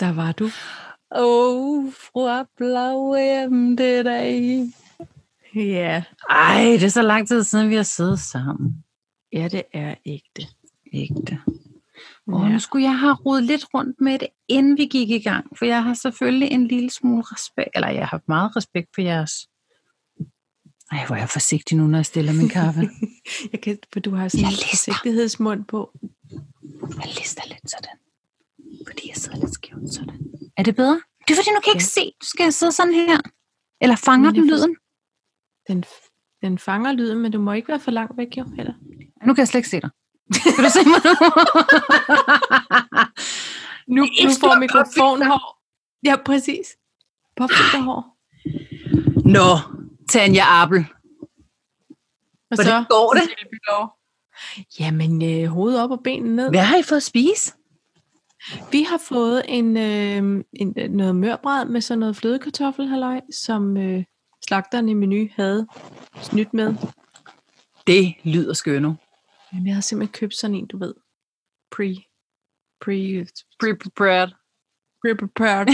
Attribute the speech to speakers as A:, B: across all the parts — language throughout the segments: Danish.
A: Der var du.
B: Oh, fra blaue hjem det dag.
A: Ja.
B: Ej, det er så lang tid siden, vi har siddet sammen.
A: Ja, det er ægte.
B: Ægte.
A: Ja.
B: Og nu skulle jeg have rodet lidt rundt med det, inden vi gik i gang. For jeg har selvfølgelig en lille smule respekt, eller jeg har meget respekt for jeres... Ej, hvor er jeg forsigtig nu, når jeg stiller min kaffe.
A: Jeg kan, for du har sådan
B: Jeg
A: en
B: lister.
A: forsigtighedsmund på.
B: Jeg lister lidt sådan. Fordi jeg sidder lidt skævt sådan. Er det bedre? Det er fordi, nu kan jeg ikke se. Du skal sidde sådan her. Eller fanger
A: Men jeg
B: den
A: forstår-
B: lyden?
A: Den, f- den fanger lyden, men du må ikke være for langt væk, jo. Eller?
B: Nu kan jeg slet ikke se dig. Kan du se mig nu?
A: Nu, nu
B: Ekstra
A: får mikrofonen hår. Ja, præcis. Påfilterhår.
B: Nå, Tanja Appel.
A: Og
B: Hvordan
A: så
B: går det?
A: Cecilie Bylov. Jamen, øh, hovedet op og benene ned.
B: Hvad har I fået at spise?
A: Vi har fået en, øh, en, øh, noget mørbrad med sådan noget flødekartoffelhalløj, som øh, slagteren i menu havde snydt med.
B: Det lyder skønt nu.
A: Jamen, jeg har simpelthen købt sådan en, du ved. Pre. Pre.
B: Pre-prepared.
A: Pre-prepared.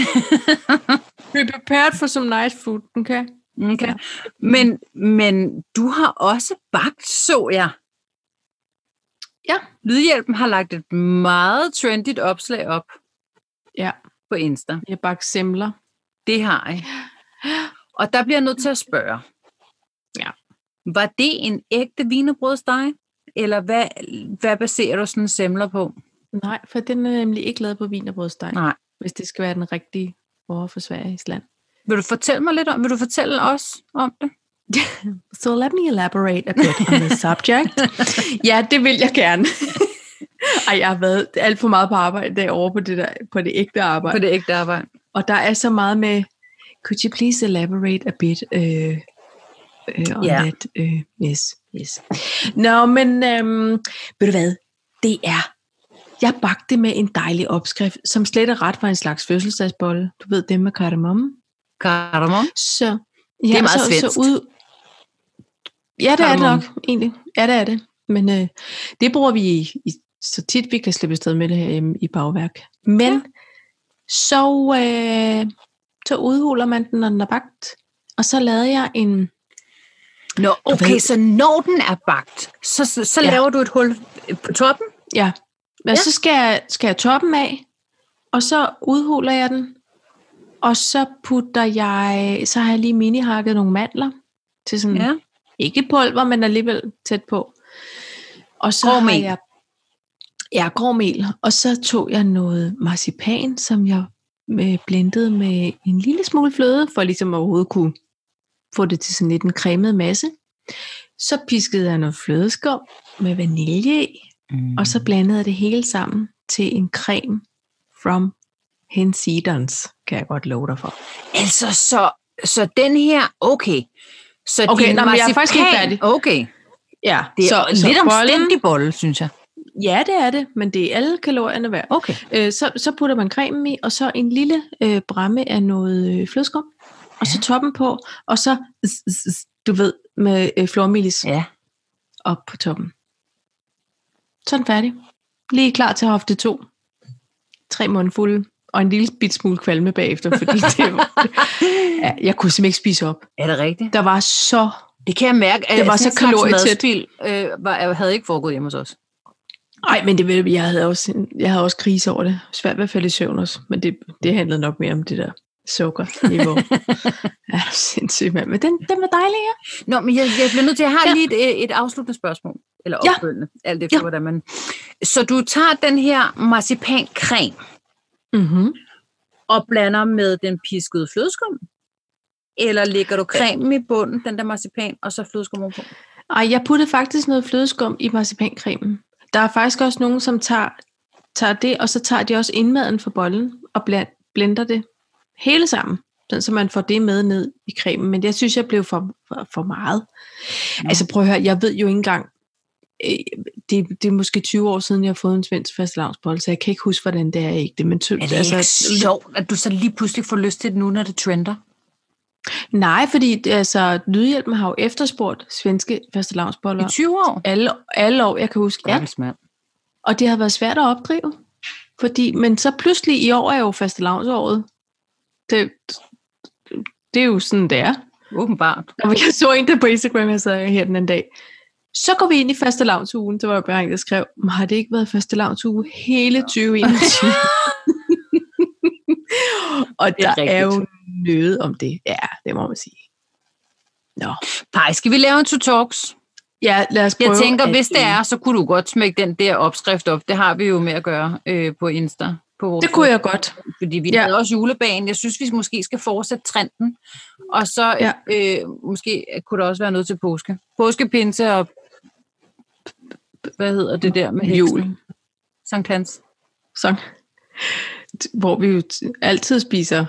A: Pre-prepared for some nice food, okay?
B: Okay. Men, men du har også bagt, så jeg.
A: Ja.
B: Lydhjælpen har lagt et meget trendigt opslag op
A: Ja,
B: på Insta.
A: jeg bagte semler.
B: Det har jeg. Og der bliver jeg nødt til at spørge.
A: Ja.
B: Var det en ægte vinerbrødsteg? Eller hvad, hvad baserer du sådan en semler på?
A: Nej, for den er nemlig ikke lavet på vin og brødsteg.
B: Nej.
A: Hvis det skal være den rigtige over for Sveriges land.
B: Vil du fortælle mig lidt om, vil du fortælle os om det?
A: So let me elaborate a bit on the subject. ja, det vil jeg gerne. Ej, jeg har været alt for meget på arbejde derovre på det, der, på det ægte arbejde.
B: På det ægte arbejde.
A: Og der er så meget med, could you please elaborate a bit øh, øh, on
B: Ja.
A: yeah. that? Øh, yes, yes. Nå, men øhm, ved du hvad? Det er, jeg bagte med en dejlig opskrift, som slet og ret var en slags fødselsdagsbolle. Du ved, dem med kardemomme.
B: Kardemom.
A: Så, ja,
B: er meget
A: så,
B: svensk.
A: Så ud... Ja, det er det
B: Kardemomme.
A: nok, egentlig. Ja, det er det. Men øh, det bruger vi i, i, så tit vi kan slippe afsted med det herhjemme i bagværk. Men
B: Ja.
A: ja. så, øh, så udhuler man den, når den er bagt. Og så lavede jeg en...
B: Nå, okay,
A: ved-
B: så når den er bagt, så, så, så
A: Ja.
B: laver du et hul på toppen?
A: Ja, men
B: Ja.
A: ja. så skal jeg, skal jeg toppen af, og så udhuler jeg den. Og så putter jeg... Så har jeg lige minihakket nogle mandler til sådan ja. ikke pulver, men alligevel tæt på. Og så
B: Grå
A: har
B: mel.
A: jeg ja, grå mel. Og så tog jeg noget marcipan, som jeg øh, blendede med en lille smule fløde, for ligesom overhovedet kunne få det til sådan lidt en cremet masse. Så piskede jeg noget flødeskum med vanilje i,
B: Mm.
A: og så blandede jeg det hele sammen til en creme from Hensidens, kan jeg godt love dig for.
B: Altså, så, så den her, okay. Så
A: Okay,
B: din
A: nå, men jeg er faktisk ikke
B: marcipan-
A: færdig.
B: Okay,
A: Ja,
B: det er så, lidt
A: bollen-
B: omstændig bolle, synes jeg.
A: Ja, det er det, men det er alle kalorierne værd.
B: Okay.
A: Øh, så, så putter man cremen i, og så en lille øh, bramme af noget øh, flødeskum, og så toppen på, og så, z- z- z- du ved, med øh, flormelis
B: Ja.
A: op på toppen. Sådan færdig. Lige klar til hofte to. Tre måneder fulde, og en lille bit smule kvalme bagefter, fordi det var, ja, jeg kunne simpelthen ikke spise op.
B: Er det rigtigt?
A: Der var så...
B: Det kan altså, jeg mærke, at
A: Det var
B: sådan
A: så
B: en slags
A: kalorietæt.
B: madspild, øh, var, jeg havde ikke foregået hjemme hos os.
A: Ej, men det, ved du, jeg, havde også, en- jeg havde også krise over det. Svært ved at falde i søvn også, men det, det handlede nok mere om det der sukkerniveau. ja, det er sindssygt, mand. Men den, den var dejlig, ja.
B: Nå, men jeg, jeg bliver nødt til, jeg har
A: Ja.
B: lige et, øh, et afsluttende spørgsmål. Eller
A: Ja.
B: opfølgende, alt efter
A: Ja.
B: hvordan man... Så du tager den her marcipancreme
A: Mm-hmm.
B: og blander med den piskede flødeskum? Eller lægger du cremen i bunden, den der marcipan, og så flødeskum ovenpå?
A: Ej, jeg puttede faktisk noget flødeskum i marcipancremen. Der er faktisk også nogen, som tager, tager det, og så tager de også indmaden fra bollen og bland, blender det hele sammen, sådan, så man får det med ned i cremen. Men jeg synes, jeg blev for, for, for meget.
B: Nå.
A: Altså prøv at høre, jeg ved jo ikke engang, øh, det, det er måske 20 år siden, jeg har fået en svensk fastelavnsbolle, så jeg kan ikke huske, hvordan det er ikke det. Men altså, tø-
B: Er det ikke sjovt, at du så lige pludselig får lyst til det nu, når det trender?
A: Nej, fordi altså, Lydhjælpen har jo efterspurgt svenske
B: I
A: fastelavnsboller
B: 20 år?
A: alle, alle år, jeg kan huske.
B: Stakkels mand.
A: Og det har været svært at opdrive. Fordi, men så pludselig i år er jo fastelavnsåret. Det, det er jo sådan, det er.
B: Åbenbart.
A: Og jeg så en der på Instagram, jeg sad her den anden dag. Så går vi ind i faste lavnsugen, så var der bare en, der skrev, "Men har det ikke været faste lavnsuge hele 2021? og
B: Det er
A: der er, er jo
B: rigtigt.
A: noget om det. Ja, det må man sige.
B: Pej, skal vi lave en to talks?
A: Ja, lad os
B: Jeg
A: prøve,
B: tænker,
A: at,
B: hvis det
A: øh,
B: er, så kunne du godt smække den der opskrift op. Det har vi jo med at gøre øh, på Insta. På vores
A: Det kunne jeg godt.
B: Fordi vi
A: Ja.
B: ja. havde også julebanen. Jeg synes, vi måske skal fortsætte trenden. Og så ja.
A: Ja.
B: øh, måske kunne der også være noget til påske. Påskepinse og hvad hedder det der med heksen?
A: Jul.
B: Sankt Hans.
A: Så, hvor vi jo t- altid spiser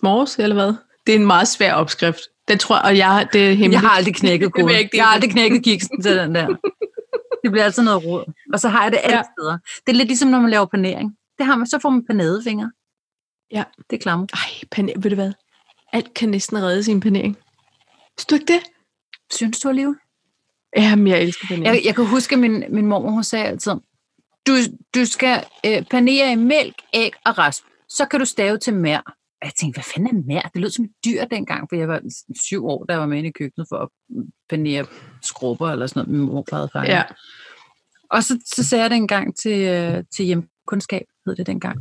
A: smores, eller hvad? Det er en meget svær opskrift. Den tror jeg, og jeg, det er hemmeligt.
B: Jeg har aldrig knækket
A: Det vil
B: koden.
A: jeg
B: Jeg,
A: ikke dele.
B: har aldrig knækket kiksen til den der. Det bliver altid noget råd. Og så har jeg det alle ja.
A: Ja.
B: steder. Det er lidt ligesom, når man laver panering. Det har man, så får man panadefingre.
A: Ja.
B: Det er klamme.
A: Ej, paner, ved du hvad? Alt kan næsten redde sin panering. Synes du ikke det?
B: Synes du alligevel?
A: Jamen, jeg elsker panering.
B: Jeg, jeg kan huske, at min, min mormor hun sagde altid, du, du skal øh, panere i mælk, æg og rasp. Så kan du stave til mær. Og jeg tænkte, hvad fanden er mær? Det lød som et dyr dengang, for jeg var syv år, da jeg var med inde i køkkenet for at mm, panere skrubber eller sådan noget. Min mor plejede faktisk.
A: ja.
B: Og så, så sagde jeg det engang til, øh, til hjemkundskab, hed det dengang.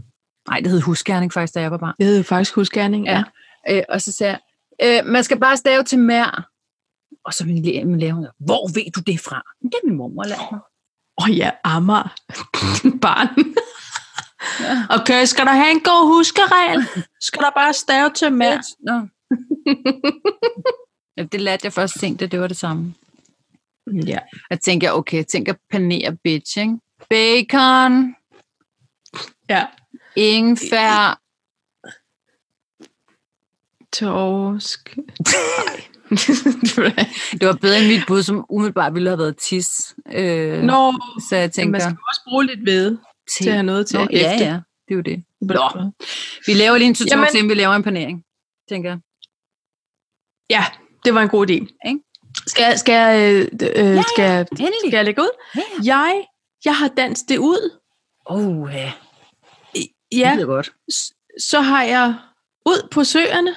B: Nej, det hed husgerning faktisk, da jeg var barn.
A: Det hedder jo faktisk huskærning, ja.
B: Ja. Øh, og så sagde jeg, øh, man skal bare stave til mær. Og så min, læ- min lærer, hun, hvor ved du det fra? "Men Det er min mormor, lærte mig.
A: Og ja, Amager. Barn.
B: Ja.
A: Okay, skal der have en god huskeregel? Skal der bare stave til mad?
B: Bitch. Nå. ja, det lærte jeg først tænkte, at det var det samme.
A: Ja.
B: Jeg tænker, okay, tænk at panere bitch, ikke? Bacon,
A: ja.
B: ingefær,
A: Torsk.
B: det var bedre end mit bud, som umiddelbart ville have været tis. Øh,
A: Nå,
B: så jeg tænker,
A: man skal også bruge lidt ved til at have noget til
B: Nå,
A: at
B: ja,
A: hæfte.
B: ja, det er jo det.
A: Nå.
B: Vi laver lige en tutorial,
A: Jamen-
B: inden vi laver en panering, tænker jeg.
A: ja, det var en god idé.
B: Ikke?
A: Skal, jeg- skal, jeg, øh, øh,
B: ja.
A: skal, jeg-
B: Endelig.
A: skal jeg lægge ud?
B: Ja.
A: Jeg, jeg har danset det ud.
B: Oh, ja.
A: Ja,
B: Det lyder godt.
A: s- så har jeg ud på søerne,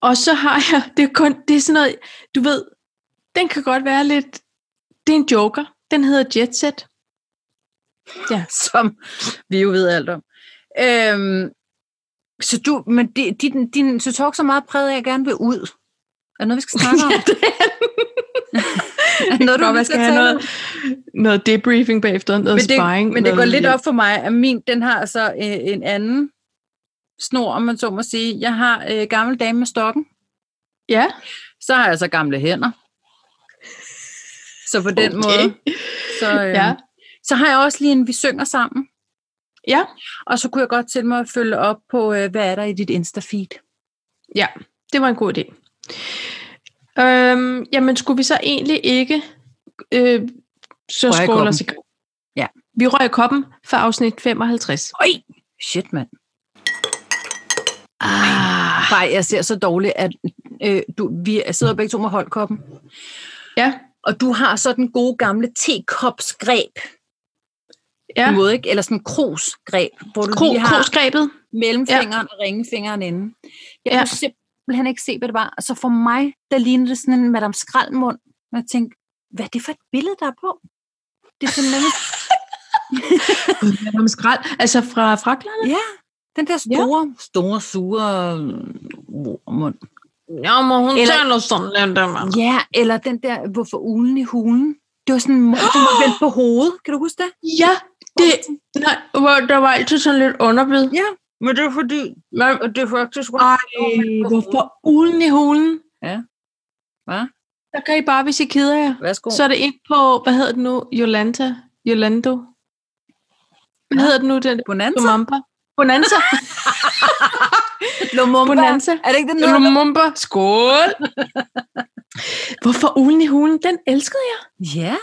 A: og så har jeg, det er kun, det er sådan noget, du ved, den kan godt være lidt, det er en joker, den hedder Jet Set.
B: Som vi jo ved alt om. Øhm, så du, men det, din, din så talk så meget præget af, at jeg gerne vil ud. Er det noget, vi skal snakke om?
A: det
B: er det noget, du
A: Godt,
B: vil
A: man skal have noget, noget debriefing bagefter, noget
B: men det,
A: sparring.
B: men det går
A: noget
B: lidt
A: hjælp.
B: op for mig, at min, den har så øh, en anden snor, om man så må sige. Jeg har øh, gammel dame med stokken.
A: Ja,
B: Så har jeg så gamle hænder. Så på den
A: Okay.
B: måde. Så, øh, ja.
A: Ja.
B: så har jeg også lige en, vi synger sammen.
A: Ja.
B: Og så kunne jeg godt tænke mig at følge op på, øh, hvad er der i dit Insta-feed?
A: ja, det var en god idé. Øhm, jamen, skulle vi så egentlig ikke øh, så
B: Røre i
A: skåle os i
B: koppen.
A: gang?
B: Ja.
A: Vi røg i koppen for afsnit 55.
B: Øj! Shit, mand.
A: Ah.
B: Bare, jeg ser så dårligt, at øh, du, vi sidder begge to med holdkoppen.
A: Ja,
B: Og du har så den gode gamle tekopsgreb ja.
A: ja.
B: på en måde, ikke? Eller sådan en krosgreb, hvor du
A: Kro,
B: lige har
A: Krosgrebet.
B: mellemfingeren ja. og ringefingeren inde. Jeg ja.
A: Ja.
B: kunne simpelthen ikke se, hvad det var. Så for mig, der lignede det sådan en Madame Skraldmund. Og jeg tænkte, hvad er det for et billede, der er på? Det er sådan nemlig,
A: Madame Skrald. Altså fra fraklerne?
B: ja, den der store, ja. store, sure øh, mund.
A: Ja, men hun
B: Eller-
A: taler sådan den der mand.
B: Ja, eller den der, hvorfor ulen i hulen. Det var sådan en mund, der var vendt på hovedet. Kan du huske det?
A: Ja, det, nej, hvor der var altid sådan lidt underbid.
B: Ja, men det er fordi,
A: Men,
B: og det er faktisk
A: ej, hvorfor ulen i hulen?
B: Ja. Hva?
A: Der kan I bare, hvis I keder jer.
B: Værsgo.
A: Så er det ind på, hvad hedder det nu? Jolanta? Jolando? Hvad
B: Nå.
A: hedder det nu? Den
B: Bonanza.
A: Lumumba? Bonanza?
B: Lumumba.
A: Bonanza?
B: Er det ikke den, der
A: Lumumba? Skål! Hvorfor ulen i hulen? Den elskede jeg.
B: Ja.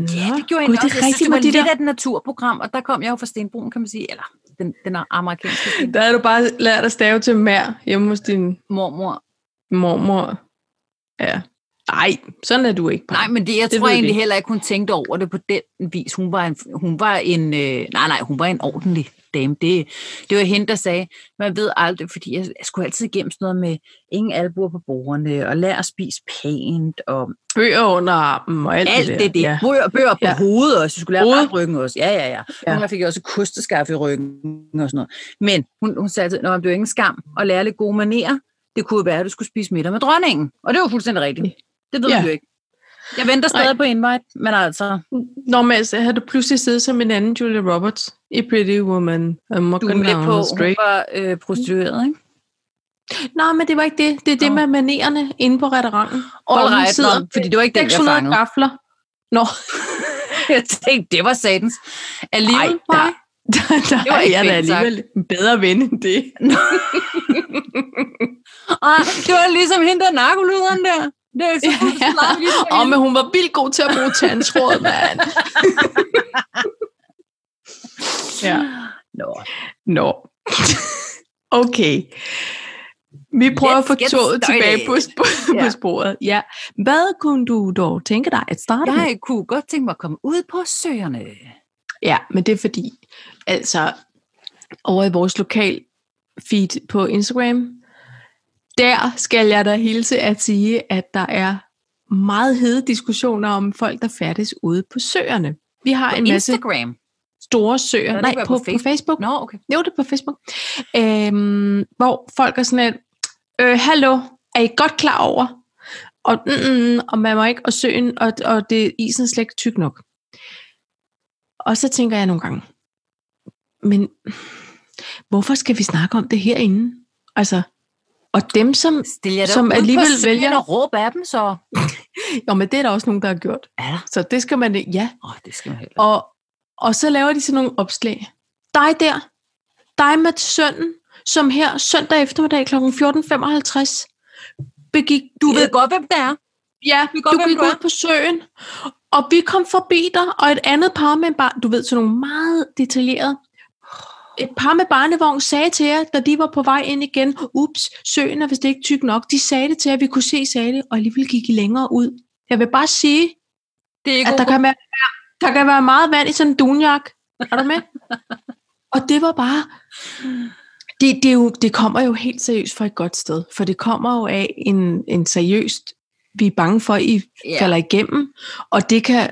A: Nå,
B: det gjorde jeg
A: Gud,
B: egentlig
A: det
B: også.
A: er
B: Jeg synes,
A: rigtigt
B: det var
A: med de
B: lidt
A: der
B: af et naturprogram, og der kom jeg jo fra Stenbroen, kan man sige, eller den, den er amerikanske Stenbroen.
A: Der havde du bare lært at stave til mær hjemme hos din
B: mormor.
A: mormor. Ja. Nej, sådan er du ikke. Paj.
B: Nej, men det, jeg
A: Det
B: det tror
A: ved vi
B: egentlig
A: ikke.
B: heller ikke, hun tænkte over det på den vis. Hun var en, hun var en øh, nej, nej, hun var en ordentlig dame. Det, det var hende, der sagde, man ved aldrig, fordi jeg, jeg skulle altid igennem sådan noget med ingen albuer på bordene, og lær at spise pænt, og
A: Bøger under armen og alt,
B: alt det, det, det.
A: Ja.
B: Ja. Bøger, bøger på
A: Ja.
B: ja. hovedet også. Jeg skulle
A: Hovedet.
B: lære ryggen også. Ja, ja, ja.
A: Ja.
B: ja. Nogle gange fik jeg også kosteskaf i ryggen og sådan noget. Men hun, hun sagde altid, at det er ingen skam at lære lidt gode manerer. Det kunne jo være, at du skulle spise middag med dronningen. Og det var fuldstændig rigtigt. Det ved
A: Ja.
B: ja. vi jo ikke. Jeg venter stadig på invite, men altså,
A: Nå, men altså, havde du pludselig siddet som en anden Julia Roberts i Pretty Woman. I'm
B: du er med på, hun var øh, prostitueret, ikke?
A: Nej, men det var ikke det. Det er det
B: Nå.
A: med manererne inde på restauranten.
B: All
A: Hvor hun
B: right,
A: sidder
B: nå, fordi det var ikke den, jeg
A: 600
B: fangede.
A: gafler. Nå,
B: Jeg tænkte, det var satans.
A: Ej,
B: Alligevel, nej.
A: der- der, der
B: Det var
A: er
B: ikke
A: jeg da
B: pænt sagt.
A: alligevel en bedre ven end det.
B: Ej, det var ligesom hende der narkoluderen der. Det er så fuldstændig ligesom
A: Og
B: hende.
A: men hun var vildt god til at bruge tandtråd, mand. ja.
B: Nå,
A: Nå. Okay. Vi prøver at få
B: Let's get
A: toget tilbage på,
B: started.
A: sp-
B: Ja.
A: på sporet. Ja. Hvad kunne du dog tænke dig at starte med?
B: Jeg kunne godt tænke mig at komme ud på søerne.
A: Ja, men det er fordi, altså over i vores lokal feed på Instagram, der skal jeg da hilse at sige, at der er meget hede diskussioner om folk, der færdes ude på søerne. Vi har en masse
B: Instagram.
A: store
B: Nå,
A: søer.
B: det
A: Nej,
B: kan være
A: på,
B: på
A: på Facebook. På Facebook.
B: Nå, okay.
A: Jo, det er på Facebook. Øhm, hvor folk er sådan lidt, øh, hallo, er I godt klar over? Og, mm, mm, og man må ikke, og søen, og, og det, isen er slet ikke tyk nok. Og så tænker jeg nogle gange, men hvorfor skal vi snakke om det herinde? Altså, og dem som,
B: Stil jer
A: Som alligevel vælger-
B: at råbe af dem, så...
A: jo, men det er der også nogen, der har gjort.
B: Ja,
A: Så det skal man, ja,
B: oh, det skal man heller.
A: Og, og så laver de sådan nogle opslag. Dig der, dig med sønnen, som her søndag eftermiddag kl. 14.55 begik...
B: Du ved godt, hvem det er.
A: ja,
B: vi godt,
A: du
B: hvem
A: gik
B: du
A: ud
B: er.
A: på søen, og vi kom forbi dig, og et andet par med en bar, du ved, sådan nogle meget detaljerede. Et par med barnevogn sagde til jer, da de var på vej ind igen, ups, søen er vist ikke tyk nok. De sagde det til jer, vi kunne se, sagde det, og alligevel gik I længere ud. Jeg vil bare sige,
B: Det er ikke
A: at der
B: okay.
A: kan, være, der kan være meget vand i sådan en dunjak. Er du med? og det var bare... Det, det, er jo, det kommer jo helt seriøst fra et godt sted, for det kommer jo af en, en seriøst, vi er bange for, at I
B: Ja.
A: falder igennem, og det kan,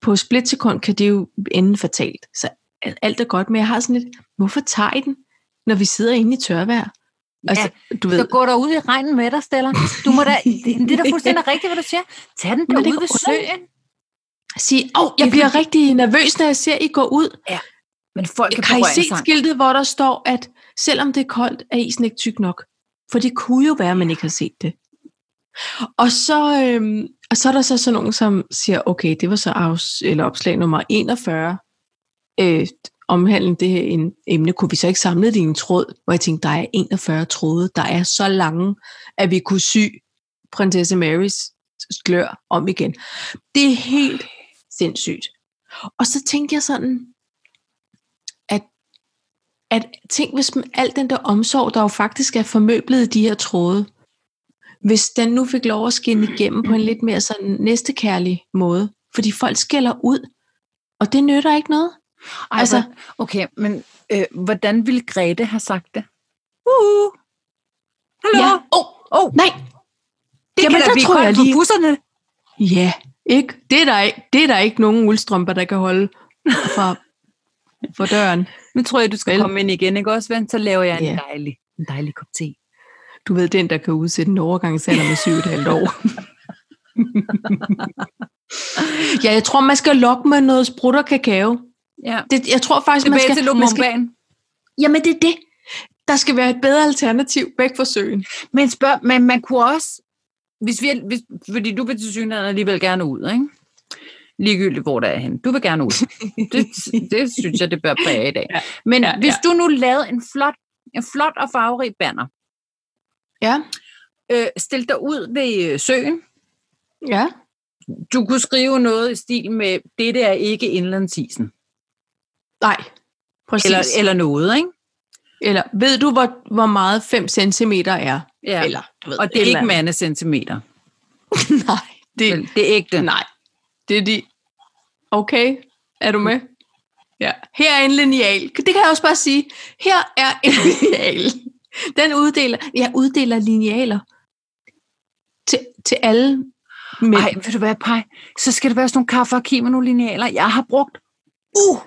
A: på et splitsekund, kan det jo ende fatalt. Så al- alt er godt, men jeg har sådan lidt, hvorfor tager I den, når vi sidder inde i tørvejr? Altså, ja, du ved,
B: Så går der ud i regnen med dig, Stella. Du må da, det, det er da fuldstændig rigtigt, hvad du siger. Tag den
A: Men det er
B: derude
A: ikke
B: ved
A: underligt.
B: søen.
A: sige, åh, oh, jeg
B: Ja,
A: bliver
B: fordi-
A: rigtig nervøs, når jeg ser, I går ud.
B: Men folk
A: Jeg
B: kan,
A: kan I
B: berøre
A: se
B: sig.
A: skiltet, hvor der står, at selvom det er koldt, er isen ikke tyk nok? For det kunne jo være, at man ikke har set det. Og så, øhm, og så er der så sådan nogen, som siger, okay, det var så afs, eller opslag nummer 41, øh, omhandlende det her en, emne, kunne vi så ikke samle det i en tråd? Hvor jeg tænkte, der er 41 tråde, der er så lange, at vi kunne sy prinsesse Marys glør om igen. Det er helt sindssygt. Og så tænkte jeg sådan, at tænk, hvis man- al den der omsorg, der jo faktisk er formøblet i de her tråde, hvis den nu fik lov at skinne igennem på en lidt mere sådan næstekærlig måde. Fordi folk skælder ud, og det nytter ikke noget.
B: Ej,
A: Altså-
B: altså, okay, men øh, hvordan ville Grete have sagt det? Uh, hallo?
A: Ja.
B: Oh, oh,
A: Nej,
B: det
A: Jamen,
B: kan da
A: der
B: blive
A: tror jeg
B: koldt på
A: lige-
B: busserne.
A: ja, ikke? Det er der ikke, det er der ikke nogen uldstrømper, der kan holde fra, fra døren.
B: Nu tror jeg, du skal
A: Vel.
B: Vel. komme ind igen, ikke også, ven? Så laver jeg en
A: Ja.
B: yeah. dejlig, en dejlig kop te.
A: Du ved, den, der kan udsætte en overgangsalder med 7,5 år. ja, jeg tror, man skal lokke med noget sprut og kakao.
B: Ja.
A: Det, jeg tror faktisk,
B: Tilbage
A: man
B: til
A: skal, man skal
B: Lumumbanen.
A: Jamen, det er det. Der skal være et bedre alternativ væk fra søen.
B: Men spørg, men man kunne også, hvis vi, hvis, fordi du vil til synligheden alligevel gerne ud, ikke? Ligegyldigt, hvor der er henne. Du vil gerne ud. Det, det synes jeg, det bør præge i dag.
A: Ja.
B: Ja. Men
A: Ja,
B: ja, hvis du nu lavede en flot, en flot og farverig banner,
A: Ja.
B: øh, stil dig ud ved øh, søen,
A: Ja.
B: du kunne skrive noget i stil med, dette er ikke indlandsisen.
A: Nej. Præcis.
B: Eller, eller noget, ikke?
A: eller ved du, hvor, hvor meget 5 cm er?
B: Ja.
A: Eller, du ved,
B: og det er
A: eller
B: ikke mandecentimeter.
A: Nej. Det,
B: Vel, Det er ægte.
A: Nej. Det er de... Okay, er du med? Ja. Her er en lineal. Det kan jeg også bare sige. Her er en lineal. Den uddeler... Jeg uddeler linealer til, til alle mænd.
B: Nej, ved du hvad, Paj? Så skal det være sådan nogle kaffe og med nogle linealer. Jeg har brugt uh,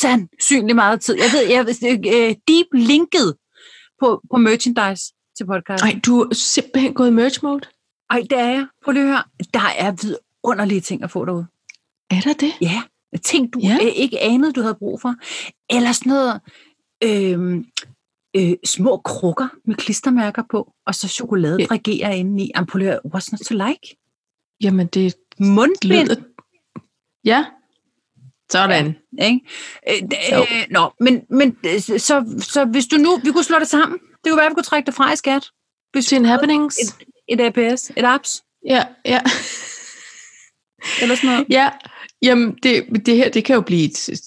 B: sandsynlig meget tid. Jeg ved, jeg ved, øh, deep linket på, på merchandise til podcasten.
A: Nej, du er simpelthen gået i merch mode.
B: Ej, det er jeg. Prøv lige at høre. Der er vidunderlige ting at få derude.
A: Er der det?
B: Ja, ting du
A: Ja.
B: ja. Øh, ikke anede, du havde brug for. Eller sådan noget øh, øh, små krukker med klistermærker på, og så chokolade
A: Ja.
B: ja. regerer inde i. Jamen, prøv lige at høre. What's not to like?
A: Jamen, det
B: Mundbind.
A: lyder... Ja. Sådan. Ja.
B: Ikke? Øh,
A: Jo.
B: d- øh, nå, men, men øh, så, så hvis du nu, vi kunne slå det sammen. Det kunne være, at vi kunne trække det fra i skat.
A: Til en happenings.
B: Et APS, et apps,
A: Ja, ja.
B: eller sådan noget.
A: Ja, jamen det, det her, det kan jo blive et, et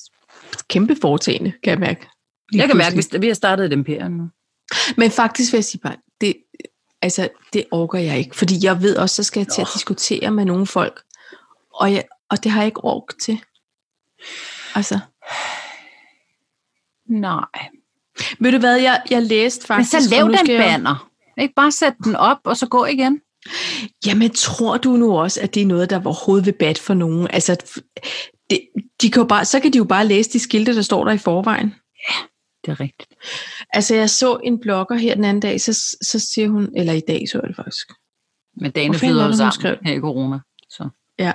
A: kæmpe foretagende, kan jeg mærke. Lige
B: Jeg kan mærke,
A: pludselig.
B: hvis vi har startet et imperium nu.
A: Men faktisk vil jeg sige bare, det, altså, det orker jeg ikke, fordi jeg ved også, så skal jeg til at
B: Nå.
A: diskutere med nogle folk, og, jeg, og det har jeg ikke ork til. Altså,
B: Nej.
A: ved du hvad, jeg, jeg læste
B: Men
A: faktisk...
B: så lav
A: og nu
B: den
A: skal jeg-
B: banner. Ikke bare sæt den op, og så gå igen.
A: Jamen, tror du nu også, at det er noget, der overhovedet vil bat for nogen? Altså, f- det, de kan jo bare, så kan de jo bare læse de skilte, der står der i forvejen.
B: Det er rigtigt.
A: Altså, jeg så en blogger her den anden dag, så, så siger hun, eller i dag så jeg det faktisk.
B: Men dagene
A: Hvor fanden
B: flyder
A: er
B: jo
A: det, hun
B: sammen
A: skrev?
B: her i corona. Så.
A: Ja.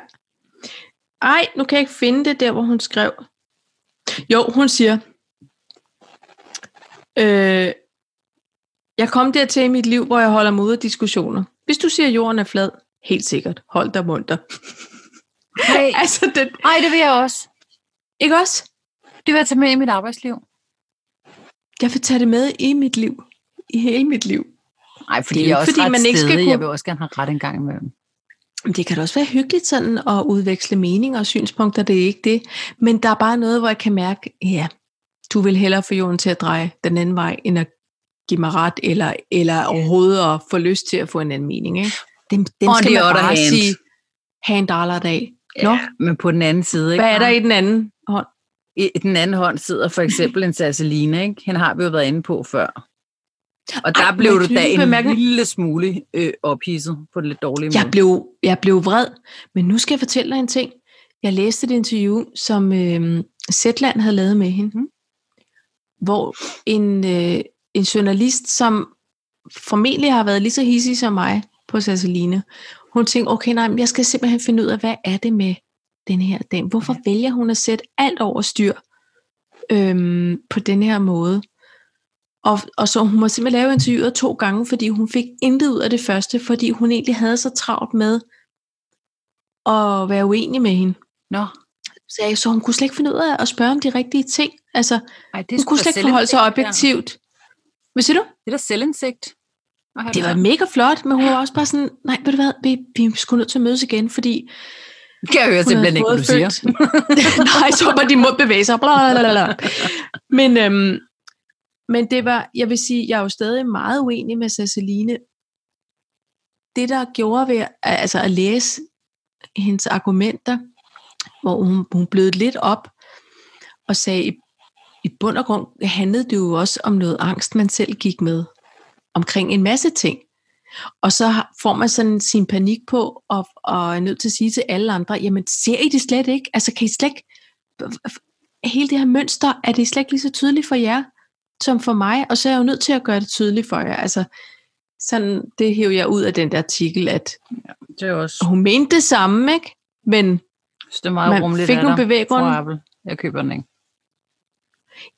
A: Ej, nu kan jeg ikke finde det der, hvor hun skrev. Jo, hun siger, øh, jeg kom dertil i mit liv, hvor jeg holder mig ude af diskussioner. Hvis du siger, at jorden er flad, helt sikkert, hold dig munter.
B: Ej,
A: altså, det,
B: ej, det vil jeg også.
A: ikke også?
B: Det vil jeg tage med i mit arbejdsliv.
A: Jeg vil tage det med i mit liv. I hele mit liv.
B: Nej, fordi
A: Det er
B: jeg
A: jo
B: er også
A: ikke, fordi
B: ret
A: man ikke skal
B: stedig.
A: kunne-
B: Jeg vil også gerne have ret en gang imellem.
A: Men Det kan da også være hyggeligt sådan at udveksle meninger og synspunkter, det er ikke det. Men der er bare noget, hvor jeg kan mærke, ja, du vil hellere få jorden til at dreje den anden vej, end at give mig ret, eller, eller overhovedet at få lyst til at få en anden mening. Ikke? Dem, dem
B: On
A: skal
B: the
A: man
B: other
A: bare
B: hand.
A: sige, have en dollar i dag. Nå,
B: Men på den anden side, ikke?
A: hvad er der i den anden hånd?
B: I i den anden hånd sidder for eksempel en Sasseline, ikke? Hende har vi jo været inde på før. Og der
A: Ej,
B: Ej, blev
A: men
B: du da
A: knyttet
B: en
A: bemærkning.
B: lille smule øh, ophidset på en lidt dårlig måde.
A: Jeg blev, jeg blev vred, men nu skal jeg fortælle dig en ting. Jeg læste et interview, som øh, Zetland havde lavet med hende,
B: Mhm.
A: hvor en, øh, en journalist, som formentlig har været lige så hissig som mig på Sasseline, hun tænkte, okay, nej, men jeg skal simpelthen finde ud af, hvad er det med den her dame? Hvorfor vælger hun at sætte alt over styr øhm, på den her måde? Og, og så hun må simpelthen lave interviewet to gange, fordi hun fik intet ud af det første, fordi hun egentlig havde så travlt med at være uenig med hende.
B: Nå,
A: Så, jeg, så hun kunne slet ikke finde ud af at spørge om de rigtige ting. Altså,
B: Ej, det
A: hun kunne
B: sgu da
A: slet ikke forholde sig
B: selvindsigt,
A: objektivt. Hvad siger du?
B: Det er da selvindsigt. at have
A: Det var
B: der.
A: mega flot, men hun var også bare sådan, nej, ved du hvad, vi, vi er sgu nødt til at mødes igen, fordi
B: kan jeg høre
A: hun havde
B: simpelthen ikke, hvad du siger.
A: fået følt- nej, så var de mund bevæge sig. Blablabla. Men, øhm, men det var, jeg vil sige, jeg er jo stadig meget uenig med Ceciline. Det, der gjorde ved altså at læse hendes argumenter, hvor hun, hun blød lidt op og sagde, i, i bund og grund handlede det jo også om noget angst, man selv gik med omkring en masse ting. Og så har- får man sådan sin panik på, og, og er nødt til at sige til alle andre, jamen ser I det slet ikke? Altså kan I slet ikke... Hele det her mønster, er det slet ikke lige så tydeligt for jer, som for mig? Og så er jeg jo nødt til at gøre det tydeligt for jer. Altså, sådan, det hæver jeg ud af den der artikel, at
B: Det er også
A: hun mente det samme, ikke? Men
B: det er meget
A: man
B: rummeligt
A: fik
B: af
A: nogle
B: dig,
A: bevæggrunde.
B: fru Appel. Jeg køber den ikke.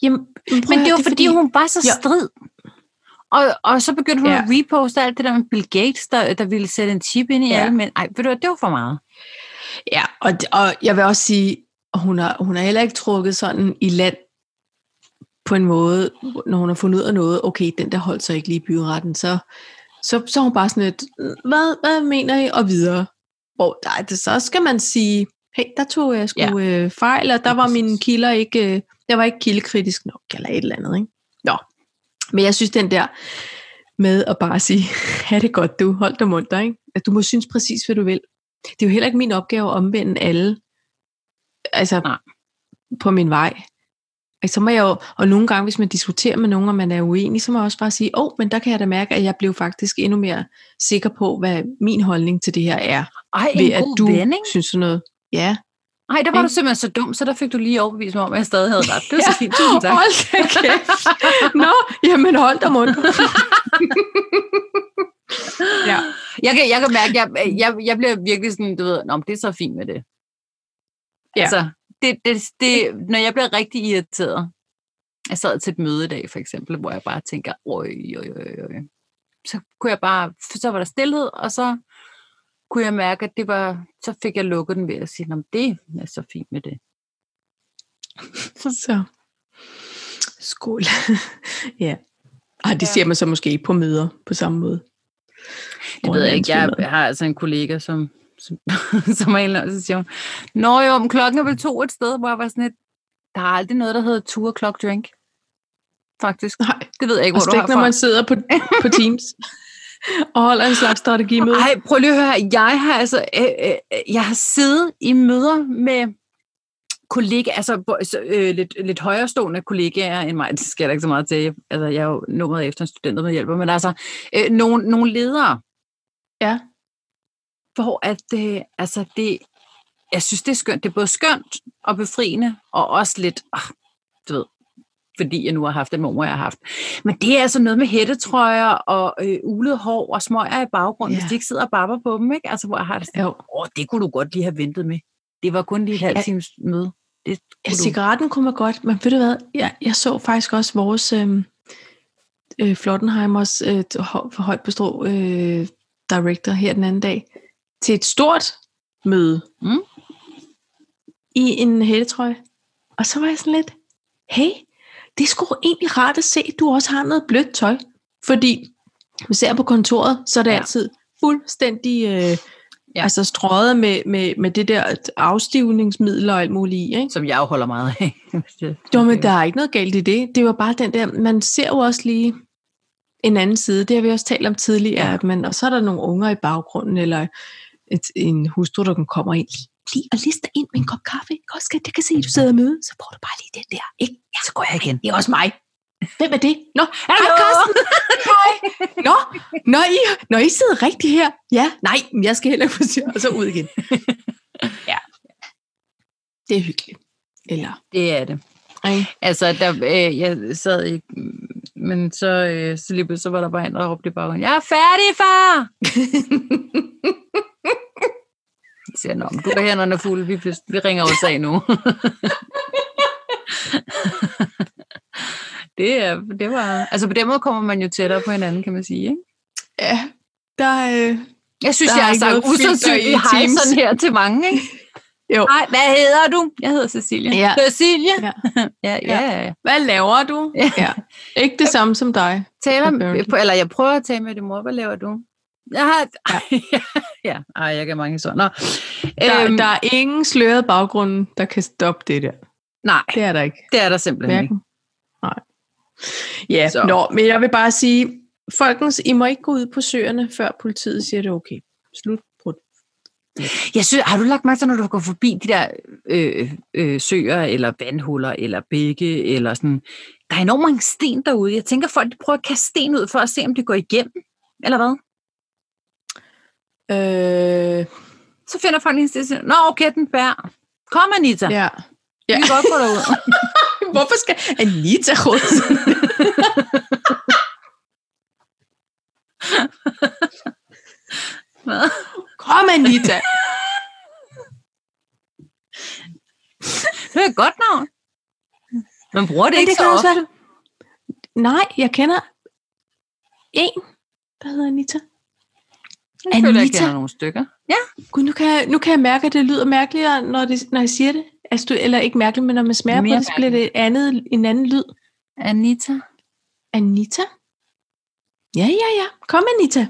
A: Jamen, prøv at
B: Men
A: høre,
B: det var, fordi hun var så
A: Ja.
B: strid. Og, og så begyndte hun
A: Ja.
B: ja. at reposte alt det der med Bill Gates, der, der ville sætte en chip ind i
A: Ja.
B: ja. alle mænd. Ej, ved du hvad, det var for meget.
A: Ja, og, og jeg vil også sige, at hun har, hun har heller ikke trukket sådan i land på en måde, når hun har fundet ud af noget, okay, den der holdt sig ikke lige i byretten, så, så, så er hun bare sådan lidt, hvad, hvad mener I, og videre. Hvor nej, det, så skal man sige, hey, der tog jeg sgu ja.
B: Ja.
A: øh, fejl, og der
B: Ja,
A: var
B: præcis.
A: mine kilder ikke, øh, jeg var ikke kildekritisk nok, eller et eller andet, ikke? Nå, men jeg synes den der Altså, med at bare sige, ha' det godt du, hold dig munter, ikke? At du må synes præcis, hvad du vil. Det er jo heller ikke min opgave at omvende alle. Altså,
B: Nej.
A: på min vej. Og så må jeg jo, og nogle gange, hvis man diskuterer med nogen, og man er uenig, så må jeg også bare sige, åh, oh, men der kan jeg da mærke, at jeg blev faktisk endnu mere sikker på, hvad min holdning til det her er.
B: Ej, en
A: ved at
B: god
A: du
B: ven, ikke?
A: synes sådan noget. Ja.
B: Ej, der var du
A: Ikke?
B: simpelthen så dum, så der fik du lige overbevist mig om, at jeg stadig havde ret. Det var så fint. Tusind tak.
A: Hold da kæft. Nå, jamen hold da mund. ja.
B: Jeg kan, jeg kan mærke, at jeg, jeg, jeg bliver virkelig sådan, du ved, Nå, men det er så fint med det.
A: Ja.
B: Altså, det, det, det, når jeg bliver rigtig irriteret, jeg sad til et møde i dag, for eksempel, hvor jeg bare tænker, øj, øj, øj, øj. Så kunne jeg bare, så var der stillhed, og så kunne jeg mærke, at det var, så fik jeg lukket den ved at sige, Nå, men det er så fint med det.
A: Så. Skål. ja. Ej, det
B: Ja.
A: siger man så måske ikke på møder på samme måde.
B: Det
A: Hvor
B: ved
A: er
B: jeg ikke. Jeg
A: ansvaret?
B: har altså en kollega, som, som, som er en, og så siger hun, Nå jo, om klokken er vel to et sted, hvor jeg var sådan et, der er aldrig noget, der hedder two o'clock drink. Faktisk.
A: Nej,
B: Det ved jeg ikke,
A: og
B: hvor du
A: slet
B: har
A: ikke, når
B: fra.
A: man sidder på, på Teams og holder en slags strategimøde.
B: Ej, prøv lige at høre. her. Jeg har altså, øh, øh, øh, jeg har siddet i møder med kollega, altså bo- så, øh, lidt, lidt højrestående kollegaer end mig. Det skal der ikke så meget til. Altså, jeg er jo nummeret efter en student, der hjælper, men altså, øh, nogle, nogle ledere,
A: Ja.
B: hvor at, øh, altså det, jeg synes, det er skønt. Det er både skønt og befriende, og også lidt, ah, du ved, fordi jeg nu har haft den mormor, jeg har haft. Men det er altså noget med hættetrøjer og øh, ulet hår og smøger i baggrunden,
A: Ja.
B: ja. hvis de ikke sidder og barber på dem, ikke? Altså, hvor jeg har det sådan,
A: Jo.
B: åh, det kunne du godt lige have ventet med. Det var kun lige et halvt
A: Ja.
B: times møde. Det
A: Ja,
B: kunne du.
A: cigaretten kunne man godt, men ved du hvad, jeg, jeg så faktisk også vores øhm, øh, Flottenheimers øh, hå- for højt på strå øh, director her den anden dag til et stort møde
B: Mm.
A: i en hættetrøje. Og så var jeg sådan lidt, hey, det er sgu egentlig rart at se, at du også har noget blødt tøj. Fordi hvis jeg er på kontoret, så er det ja.
B: Ja.
A: altid fuldstændig øh, ja.
B: Ja.
A: altså strøget med, med, med det der afstivningsmiddel og alt muligt i, ikke?
B: Som jeg jo holder meget af.
A: Jo, men der er ikke noget galt i det. Det var bare den der, man ser jo også lige en anden side. Det har vi også talt om tidligere,
B: Ja.
A: at man, og så er der nogle unger i baggrunden, eller et, en hustru, der kommer ind lige og lister ind med en kop kaffe. Godt skat, jeg kan se, at du sidder og møde, så får du bare lige den der. Ikke? Ja,
B: Så går jeg igen.
A: det er også mig. Hvem er det? Nå,
B: Hallo!
A: Karsten. nå, når I, når I sidder rigtigt her. Ja, nej, men jeg skal heller ikke på Og så ud igen. Ja. Det er hyggeligt. Eller,
B: Det er det.
A: ikke?
B: Altså, der, øh, jeg sad ikke, men så, øh, så lige pludselig så var der bare en, der råbte i baggrunden, jeg er færdig, far! Jeg siger, nå, men du har hænderne fulde, vi, vi ringer også af nu. det, er, det var... Altså, på den måde kommer man jo tættere på hinanden, kan man sige, ikke?
A: Ja, der er... Øh,
B: Jeg synes,
A: Der
B: der jeg
A: er
B: har
A: ikke
B: sagt
A: noget filter i
B: usandsynligt hej
A: Teams.
B: sådan her til mange, ikke?
A: Jo.
B: Hej, hvad hedder du? Jeg hedder Cecilia.
A: Ja.
B: Cecilia?
A: Ja.
B: ja, ja, ja. ja.
A: Hvad laver du?
B: Ja.
A: ja. Ikke det samme som dig.
B: taler,
A: Apparently.
B: eller jeg prøver at tale med din mor, hvad laver du? Jeg har... Ja, ja. Ej, jeg kan mange historier. Nå.
A: Der,
B: Øhm,
A: øhm. der er ingen sløret baggrund, der kan stoppe det der.
B: Nej,
A: Det er der ikke.
B: det er der simpelthen ikke.
A: Hverken. Nej. Ja,
B: Så.
A: nå, men jeg vil bare sige, folkens, I må ikke gå ud på søerne, før politiet siger det er okay. Slut. Brud.
B: Jeg synes, har du lagt mærke til, når du går forbi de der øh, øh, søer, eller vandhuller, eller bække, eller sådan... Der er enormt mange sten derude. Jeg tænker, folk de prøver at kaste sten ud for at se, om det går igennem, eller hvad?
A: Øh,
B: Så finder folk lige en sten og siger, Nå, okay, den bærer. Kom, Anita. Ja.
A: ja.
B: Vi kan godt gå derud.
A: Hvorfor skal Anita Rosen?
B: Hvad?
A: Kom, Anita!
B: det er et godt navn. Man bruger det
A: Men
B: ikke så ofte.
A: være... Nej, jeg kender en, der hedder Anita.
B: Jeg føler, jeg
A: Anita.
B: kender nogle stykker. Ja.
A: Gud, nu kan, jeg, nu kan jeg mærke, at det lyder mærkeligere, når, det, når jeg siger det. Altså, du, eller ikke mærkeligt, men når man smager
B: Mere
A: på det, så bliver det andet, en anden lyd.
B: Anita.
A: Anita? Ja, ja, ja. Kom, Anita.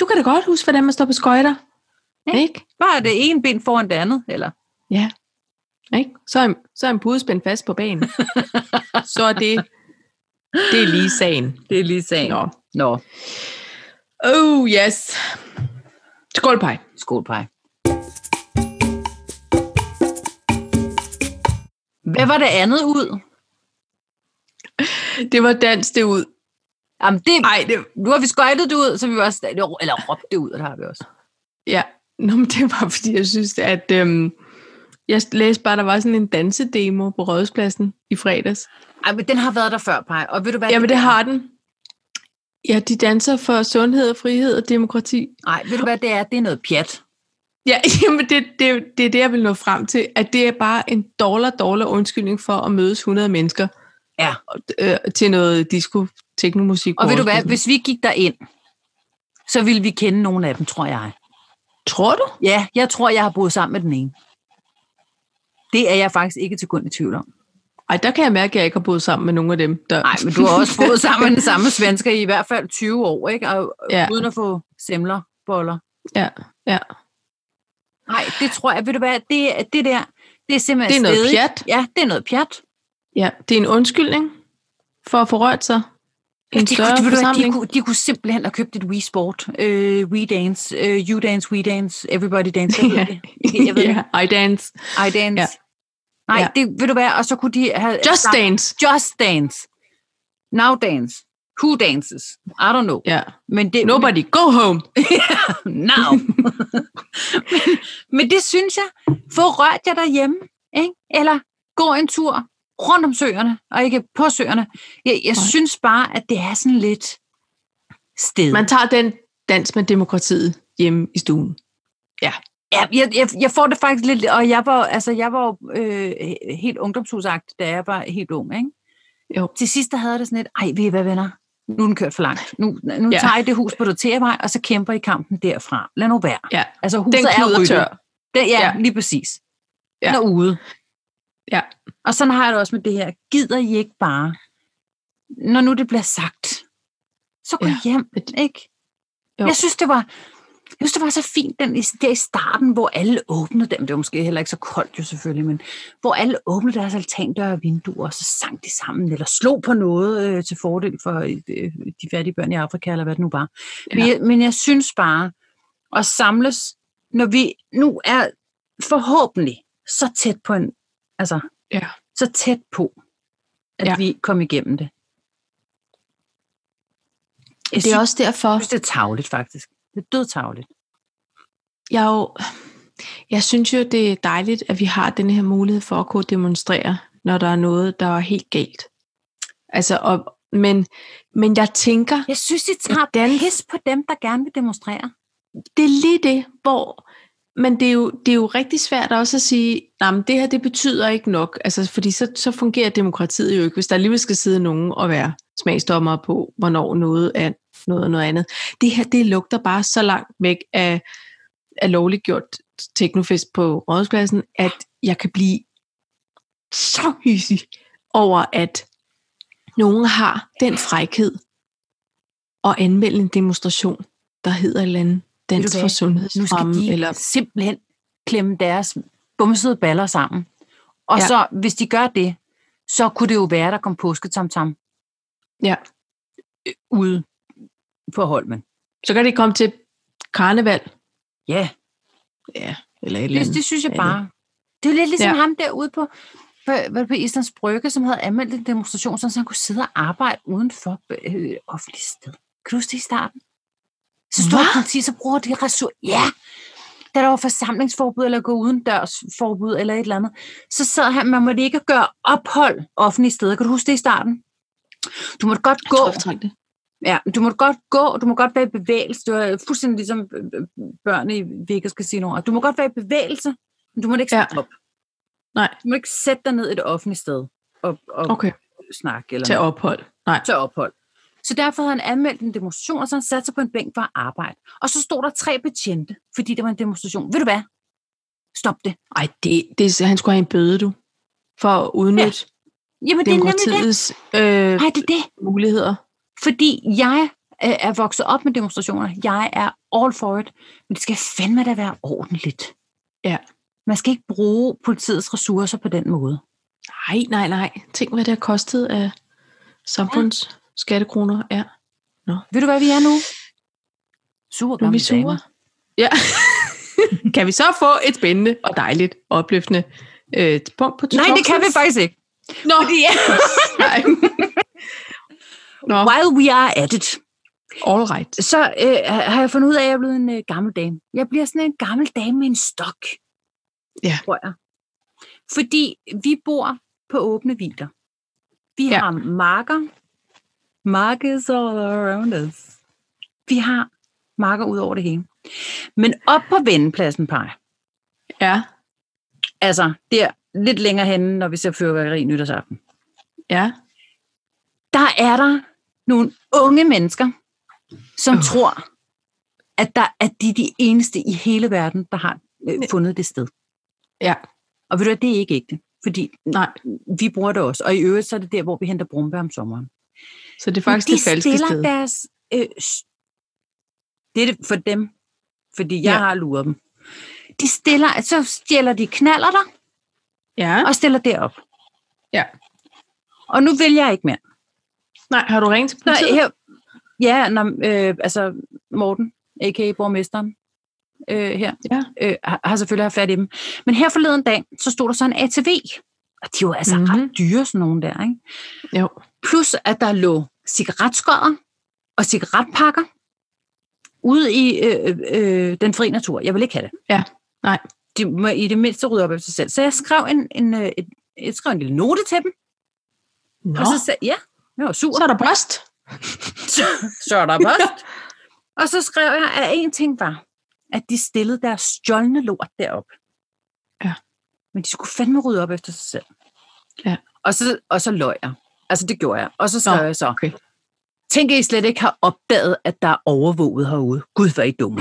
A: Du kan da godt huske, hvordan man står på skøjter.
B: Ja.
A: Ja. Ikke?
B: Bare det ene ben foran det andet, eller?
A: Ja. Ikke? Så, er, så er en pude spændt fast på banen. så er det, det er lige sagen.
B: Det er lige sagen.
A: Nå.
B: Nå.
A: Oh, yes. Skål, pej.
B: Skål, pej. Hvad var det andet ud?
A: Det var dans det ud.
B: Jamen, det,
A: Nej, det,
B: nu har vi skøjtet det ud, så vi var også, eller råbt det ud, og der har vi også.
A: ja. Nå, men det var, fordi jeg synes, at øhm, jeg læste bare, der var sådan en dansedemo på Rådhuspladsen i fredags.
B: Ej, men den har været der før, Paj. Og ved du hvad?
A: Jamen, det har den. Ja, de danser for sundhed, frihed og demokrati.
B: Nej, ved du hvad det er? Det er noget pjat.
A: Ja, jamen det, det, det er det, jeg vil nå frem til, at det er bare en dollar, dollar undskyldning for at mødes 100 mennesker
B: Ja.
A: og, øh, til noget disco teknomusik. på
B: Og ved du hvad?
A: Rådhuspladsen.
B: Hvis vi gik derind, så ville vi kende nogle af dem, tror jeg.
A: Tror du?
B: Ja, jeg tror, jeg har boet sammen med den ene. Det er jeg faktisk ikke til grund i tvivl om.
A: Ej, der kan jeg mærke, at jeg ikke har boet sammen med nogen af dem. Der...
B: Nej, men du har også boet sammen med den samme svensker i i hvert fald 20 år, ikke? Og, ja.
A: Ja.
B: Uden at få semler, boller.
A: Ja, ja.
B: Nej, det tror jeg, ved du hvad, det, er- det der, det er simpelthen
A: Det er noget
B: stedigt.
A: pjat.
B: Ja, det er noget pjat.
A: Ja, det er en undskyldning for at få rørt sig. En
B: Altså, de,
A: større
B: kunne, ved du hvad, de,
A: forsamling.
B: kunne, de kunne simpelthen have købt et Wii Sport, øh, Wii Dance, øh, You Dance, We Dance, Everybody Dance, jeg ved
A: Ja.
B: det. Jeg ved det.
A: ja, I dance.
B: I Dance. Ja.
A: Ja.
B: Nej,
A: Ja.
B: det ved du hvad, og så kunne de have...
A: Just
B: sagt,
A: dance.
B: Just Dance. Now Dance. Who dances? I don't know.
A: Ja.
B: Men det,
A: Nobody go home.
B: now. men, men det synes jeg. Få rørt jer derhjemme. Ikke? Eller gå en tur rundt om søerne, og ikke på søerne. Jeg, jeg
A: Nej.
B: synes bare, at det er sådan lidt sted.
A: Man tager den dans med demokratiet hjemme i stuen.
B: Ja, jeg, jeg, jeg får det faktisk lidt, og jeg var, altså, jeg var jo, øh, helt ungdomshusagt, da jeg var helt ung. Ikke?
A: Jo.
B: Til sidst der havde jeg det sådan lidt, ej, ved I hvad venner, nu er den kørt for langt. Nu, nu ja.
A: Ja.
B: tager I det hus på Dorteavej, og så kæmper I kampen derfra. Lad nu være.
A: Ja.
B: Altså, huset
A: Den
B: er
A: kluder
B: ryddet.
A: tør.
B: Det, ja, ja,
A: Ja.
B: lige præcis. Den
A: Ja.
B: er ude.
A: Ja.
B: Og sådan har jeg det også med det her. Gider I ikke bare, når nu det bliver sagt, så gå ja.
A: Ja.
B: hjem, ikke? Jo.
A: Jo.
B: Jeg synes, det var... Jeg synes, det var så fint den, i- der i starten, hvor alle åbnede dem. Det var måske heller ikke så koldt jo selvfølgelig, men hvor alle åbnede deres altandøre og vinduer, og så sang de sammen, eller slog på noget øh, til fordel for øh, de fattige børn i Afrika, eller hvad det nu var. Ja. Men,
A: Ja.
B: jeg, men jeg synes bare, at samles, når vi nu er forhåbentlig så tæt på en, altså,
A: Ja.
B: så tæt på, at ja.
A: Ja.
B: vi kom igennem det. Jeg
A: Det er også derfor,
B: synes, det er tavligt, faktisk. Det er dødtavligt.
A: jeg jo, jeg synes jo, det er dejligt, at vi har den her mulighed for at kunne demonstrere, når der er noget, der er helt galt. Altså, og, men, men jeg tænker,
B: Jeg synes, I tager
A: Hvordan-
B: pis på dem, der gerne vil demonstrere.
A: det er lige det, hvor... Men det er, jo, det er jo rigtig svært også at sige, nej, men det her det betyder ikke nok, altså, fordi så, så fungerer demokratiet jo ikke, hvis der alligevel skal sidde nogen og være smagsdommer på, hvornår noget er noget og noget andet. Det her, det lugter bare så langt væk af, af lovliggjort teknofest på rådhuspladsen, at jeg kan blive så hyssig over, at nogen har den frækhed at anmelde en demonstration, der hedder et eller andet
B: Ved du
A: dans
B: hvad?
A: for
B: Nu skal
A: sundhedsfremme,
B: de
A: eller
B: eller... simpelthen klemme deres bumsede baller sammen. Og ja.
A: Ja.
B: så, hvis de gør det, så kunne det jo være, der kom påsketamtam
A: Ja.
B: Øh, ude på Holmen.
A: Så kan det komme til karneval.
B: Ja,
A: Ja, eller et eller
B: det,
A: andet.
B: det synes jeg
A: Ja,
B: bare. Det er lidt ligesom ja.
A: Ja.
B: ham derude på, på, hvad på Islands Brygge, som havde anmeldt en demonstration, sådan, så han kunne sidde og arbejde uden for øh, offentligt sted. Kan du huske det i starten? Så står
A: Hva?
B: politi, så bruger de ressourcer. Ja! Da der var forsamlingsforbud, eller gå uden dørsforbud, eller et eller andet, så sad han, man måtte ikke gøre ophold offentlige steder. Kan du huske det i starten? Du måtte godt gå.
A: Tror, jeg fortrængte det.
B: Ja, du må godt gå, og du må godt være i bevægelse. Du er fuldstændig ligesom øh, øh, børn i Vegas Casino. Og Du må godt være i bevægelse, men du må ikke
A: Ja.
B: sætte ja. op.
A: Nej.
B: Du må ikke sætte dig ned et offentligt sted og, og okay.
A: Okay,
B: snakke eller
A: til
B: noget.
A: ophold. Nej,
B: tage ophold. Så derfor havde han anmeldt en demonstration, og så havde han sat sig på en bænk for at arbejde. Og så stod der tre betjente, fordi det var en demonstration. Ved du hvad? Stop det.
A: Ej, det, det, han skulle have en bøde, du. For at udnytte ja,
B: Jamen, det er nemlig det.
A: demokratiets øh,
B: Nej, det er det.
A: muligheder.
B: Fordi jeg øh, er vokset op med demonstrationer. Jeg er all for it. Men det skal fandme da være ordentligt.
A: Ja.
B: Man skal ikke bruge politiets ressourcer på den måde.
A: Nej, nej, nej. Tænk, hvad det har kostet af samfunds ja. skattekroner. Ja.
B: Ved du, hvad vi er nu? Sure
A: Nu er
B: gamle
A: vi sure.
B: damer.
A: Ja. kan vi så få et spændende og dejligt, opløftende øh, punkt på
B: Nej, det kan vi
A: torsdags.
B: faktisk ikke.
A: Nå, ja. Nej. Nå,
B: While we are at it,
A: all right.
B: så øh, har jeg fundet ud af, at jeg er blevet en øh, gammel dame. Jeg bliver sådan en gammel dame med en stok,
A: Ja.
B: tror jeg. Fordi vi bor på åbne vilder. Vi
A: Ja.
B: ja. har marker. Markers all around us. Vi har marker ud over det hele. Men op på vendepladsen, Paj,
A: Ja,
B: altså der lidt længere henne, når vi ser fyrværkeri nytårsaften,
A: ja.
B: der er der nogle unge mennesker, som
A: Åh.
B: oh. tror, at, der, at de er de eneste i hele verden, der har øh, fundet det sted.
A: Ja.
B: Og ved du hvad, det er ikke ægte, fordi
A: Nej.
B: vi bruger det også. Og i øvrigt, så er det der, hvor vi henter brumbær om sommeren.
A: Så det er faktisk
B: Men de
A: det falske
B: stiller
A: sted.
B: deres... Øh, s- det er det for dem, fordi jeg
A: Ja.
B: ja. har luret dem. De stiller, så stjæler de knaller der,
A: Ja.
B: og stiller derop.
A: Ja.
B: Og nu vil jeg ikke mere.
A: Nej, har du ringet til
B: Nå,
A: politiet?
B: her, ja, når, øh, altså Morten, a.k.a. borgmesteren, øh, her,
A: Ja.
B: øh, har, har selvfølgelig haft fat i dem. Men her forleden dag, så stod der så en ATV, og de var altså mm-hmm.
A: Mhm.
B: ret dyre, sådan nogle der, ikke?
A: Jo.
B: Plus, at der lå cigaretskodder og cigaretpakker ude i øh, øh, den frie natur. Jeg vil ikke have det.
A: Ja, nej.
B: De må i det mindste rydde op efter sig selv. Så jeg skrev en, en, øh, et, jeg skrev en lille note til dem,
A: Nå,
B: og så sagde, ja, jeg var sur.
A: så er der bræst.
B: så er der post. og så skrev jeg, at en ting var, at de stillede deres stjålne lort derop.
A: Ja.
B: Men de skulle fandme rydde op efter sig selv.
A: Ja.
B: Og så, og så løg jeg. Altså, det gjorde jeg. Og så skrev
A: Nå,
B: jeg så,
A: okay.
B: tænk, at I slet ikke har opdaget, at der er overvåget herude. Gud, hvor er I dumme.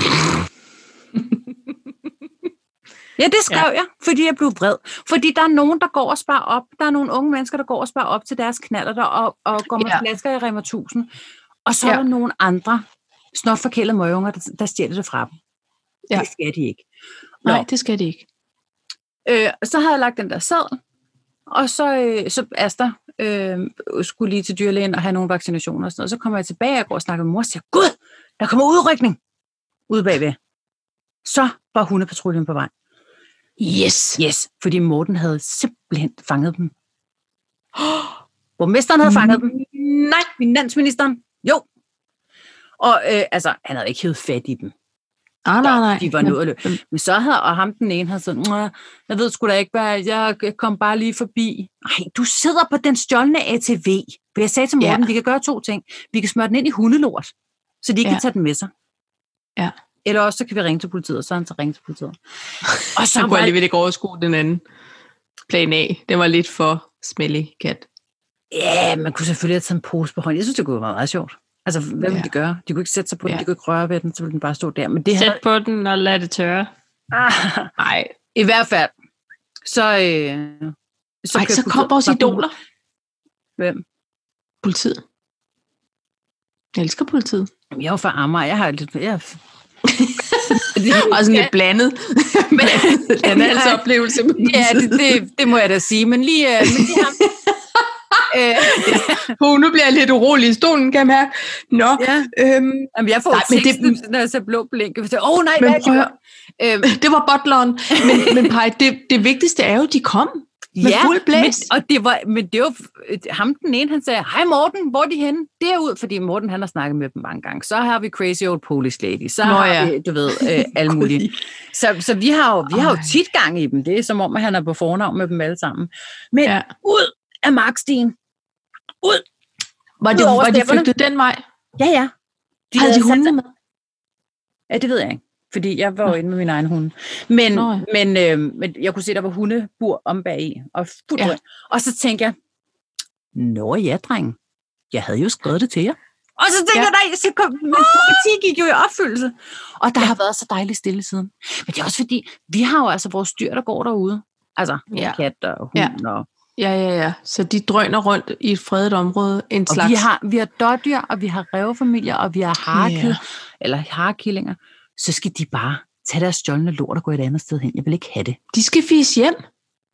B: Ja, det skrev ja. jeg, fordi jeg blev vred. Fordi der er nogen, der går og sparer op. Der er nogle unge mennesker, der går og sparer op til deres knaller der og, og går med
A: Ja.
B: ja. flasker i Rema 1000. Og så ja. er
A: Ja.
B: der nogle andre snotforkælede møgunger, der, der stjæler det fra dem.
A: Ja.
B: Ja. Det skal de ikke.
A: Nej, det skal det ikke.
B: Øh, og så havde jeg lagt den der sæd, og så, øh, så Asta øh, skulle lige til dyrlægen og have nogle vaccinationer og sådan noget. Så kommer jeg tilbage, og jeg går og snakker med mor og siger, Gud, der kommer udrykning ude bagved. Så var hundepatruljen på vej.
A: Yes.
B: Yes, fordi Morten havde simpelthen fanget dem. Borgmesteren havde fanget dem. Nej, finansministeren. Jo. Og øh, altså, han havde ikke hævet fat i dem.
A: Ah, nej, nej.
B: De var nået at løbe.
A: Hvem-
B: Men så havde, og ham den ene havde sådan, "Nå, jeg ved sgu da ikke, hvad, jeg kom bare lige forbi. Nej, du sidder på den stjålne ATV. For jeg sagde til Morten,
A: Ja.
B: ja. vi kan gøre to ting. Vi kan smøre den ind i hundelort, så de ikke
A: Ja.
B: kan tage den med sig.
A: Ja.
B: Eller også, så kan vi ringe til politiet, og så har han så ringe til politiet. Og
A: Så
B: så
A: kunne
B: var
A: jeg alligevel ikke overskue den anden. Plan A. Den var lidt for smelly kat.
B: Ja, man kunne selvfølgelig have taget en pose på hånden. Jeg synes, det kunne være meget sjovt. Altså, hvad ville
A: Ja.
B: de gøre? De kunne ikke sætte sig på den,
A: Ja.
B: de kunne ikke røre ved den, så ville den bare stå der. Men det
A: Sæt
B: havde...
A: på den og lad det tørre.
B: Ah,
A: Nej.
B: I hvert fald, så... Øh,
A: Så, Ej,
B: kan
A: så
B: jeg-
A: kom vores idoler.
B: Hvem?
A: Politiet. Jeg elsker politiet.
B: Jamen, Jeg er jo fra Amager, jeg har lidt... Jeg...
A: Og sådan lidt blandet. Men den er altså oplevelse med
B: ja, det,
A: politiet.
B: det, det, må jeg da sige, men lige... Øh, men lige ham. øh,
A: Hov, nu bliver jeg lidt urolig i stolen, kan jeg mærke. Nå,
B: ja,
A: øhm,
B: jamen, jeg får
A: Nej,
B: nej,
A: men det-
B: teksten, det... når jeg ser blå blink. Åh, oh, nej,
A: Men
B: hvad er
A: prøv at
B: det? Øhm,
A: det var butleren. Men, men Paj, det, det vigtigste er jo, at de kom. Med fuld blæs.
B: Men, og det var, men det var øh, ham den ene, han sagde, hej Morten, hvor er de henne? Derud, fordi Morten han har snakket med dem mange gange. Så har vi Crazy Old Polish Lady, så
A: Nå
B: Nå, har
A: ja.
B: ja. vi, du ved, øh, alle mulige. Så, så vi har jo, vi har jo
A: Ej.
B: tit gang i dem. Det er som om, at han er på fornavn med dem alle sammen. Men
A: Ja.
B: ja. ud af markstien.
A: Var det,
B: Udover
A: var de
B: stepperne.
A: flygtet den vej?
B: Ja, ja.
A: De havde de
B: sat
A: hundene med?
B: Ja, det ved jeg ikke. Fordi jeg var jo
A: Nå.
B: inde med min egen hund. Men,
A: Nå, ja.
B: men, øh, men jeg kunne se, der var hundebur om bag i. Og,
A: Ja.
B: ja. og så tænkte jeg, Nå ja, dreng. Jeg havde jo skrevet det til jer. Og så tænkte
A: Ja.
B: ja. jeg, nej, så kom, min profeti gik jo i opfyldelse. Og der
A: Ja.
B: ja. har været så dejligt stille siden. Men det er også fordi, vi har jo altså vores dyr, der går derude. Altså,
A: Ja.
B: ja. kat og hund. Ja. Og,
A: Ja, ja, ja. Så de drøner rundt i et fredet område. En
B: og
A: slags...
B: vi har, vi har dårdyr, og vi har revfamilier, og vi har harekid,
A: Ja.
B: ja. eller harekillinger. Så skal de bare tage deres stjålne lort og gå et andet sted hen. Jeg vil ikke have det.
A: De skal fise hjem.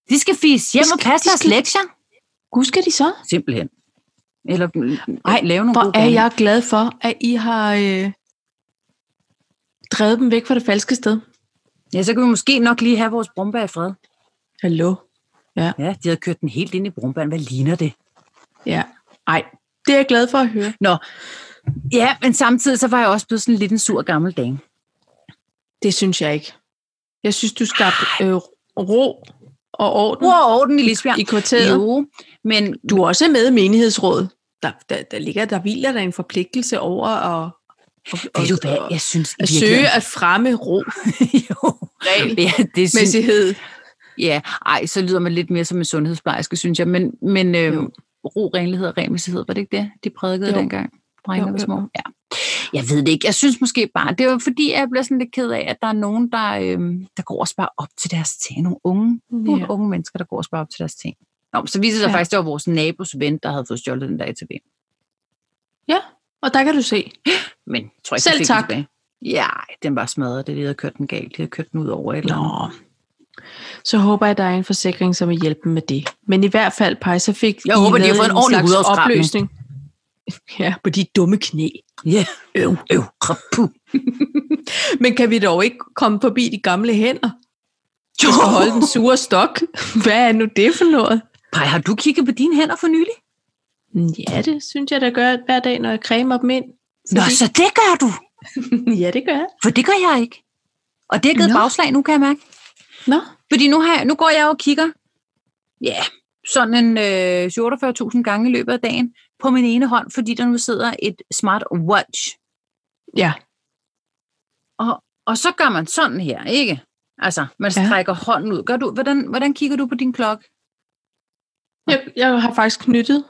B: De skal fise hjem
A: De
B: og
A: skal-
B: passe
A: de
B: deres
A: skal-
B: lektier.
A: Gud skal de så?
B: Simpelthen. Eller
A: Ej,
B: Ej, lave nogle
A: Hvor
B: gode
A: er
B: gerninger.
A: jeg glad for, at I har øh, drevet dem væk fra det falske sted.
B: Ja, så kan vi måske nok lige have vores brumbær i fred.
A: Hallo. Ja.
B: ja, de havde kørt den helt ind i brumbæren. Hvad ligner det?
A: Ja. Ej, det er jeg glad for at høre.
B: Ja, men samtidig så var jeg også blevet sådan lidt en sur gammel dame.
A: Det synes jeg ikke. Jeg synes, du skabte øh, ro og orden
B: Ro og orden i Lisbjerg.
A: i kvarteret.
B: Jo, men
A: Du er også med i menighedsrådet. Der, der, der ligger, der hviler der en forpligtelse over at, at,
B: ved du hvad,
A: at,
B: jeg synes i
A: at søge
B: virkeligheden-
A: at fremme ro,
B: jo, ja, det synes,
A: regelmæssighed.
B: ja, ej, så lyder man lidt mere som en sundhedsplejerske, synes jeg. Men, men øh,
A: Jo.
B: ro, renlighed og renmæssighed, var det ikke det, de prædikede
A: Jo.
B: jo. dengang?
A: Jo,
B: Drengene var
A: jo, jo.
B: små. Ja. Jeg ved det ikke. Jeg synes måske bare, det var fordi, jeg bliver sådan lidt ked af, at der er nogen, der, øh, der går og sparer op til deres ting. Nogle unge, nogle
A: Ja.
B: unge mennesker, der går og sparer op til deres ting. Nå, men så viser det sig
A: Ja.
B: ja. faktisk, at det var vores nabos ven, der havde fået stjålet den der ATV.
A: Og der kan du se.
B: Men jeg tror ikke,
A: Selv
B: den fik
A: tak.
B: Den tilbage. ja, ej, den var smadret. Det de havde kørt den galt. De havde kørt den ud over et eller andet.
A: Nå. Så håber jeg, at der er en forsikring, som vil hjælpe dem med det. Men i hvert fald, Paj, så fik
B: Jeg håber, de har
A: lavet
B: fået en ordentlig
A: slags
B: hudafskrabning.
A: opløsning. Ja, på de dumme knæ.
B: Ja, øv, øv, krapu.
A: Men kan vi dog ikke komme forbi de gamle hænder
B: Jo,
A: og holde den sure stok? Hvad er nu det for noget?
B: Pej, har du kigget på dine hænder for nylig?
A: Ja, det synes jeg, der gør hver dag, når jeg cremer dem ind.
B: Nå, så det gør du.
A: ja, det gør jeg.
B: For det gør jeg ikke. Og det har givet
A: Nå.
B: bagslag nu, kan jeg mærke.
A: Nå,
B: Fordi nu, har jeg, nu går jeg og kigger, ja, yeah, sådan en øh, 48.000 gange i løbet af dagen på min ene hånd, fordi der nu sidder et smartwatch.
A: ja.
B: Og, og så gør man sådan her, ikke? Altså, man
A: Ja.
B: strækker hånden ud. Gør du, hvordan, hvordan kigger du på din klokke?
A: Jeg, jeg har faktisk knyttet.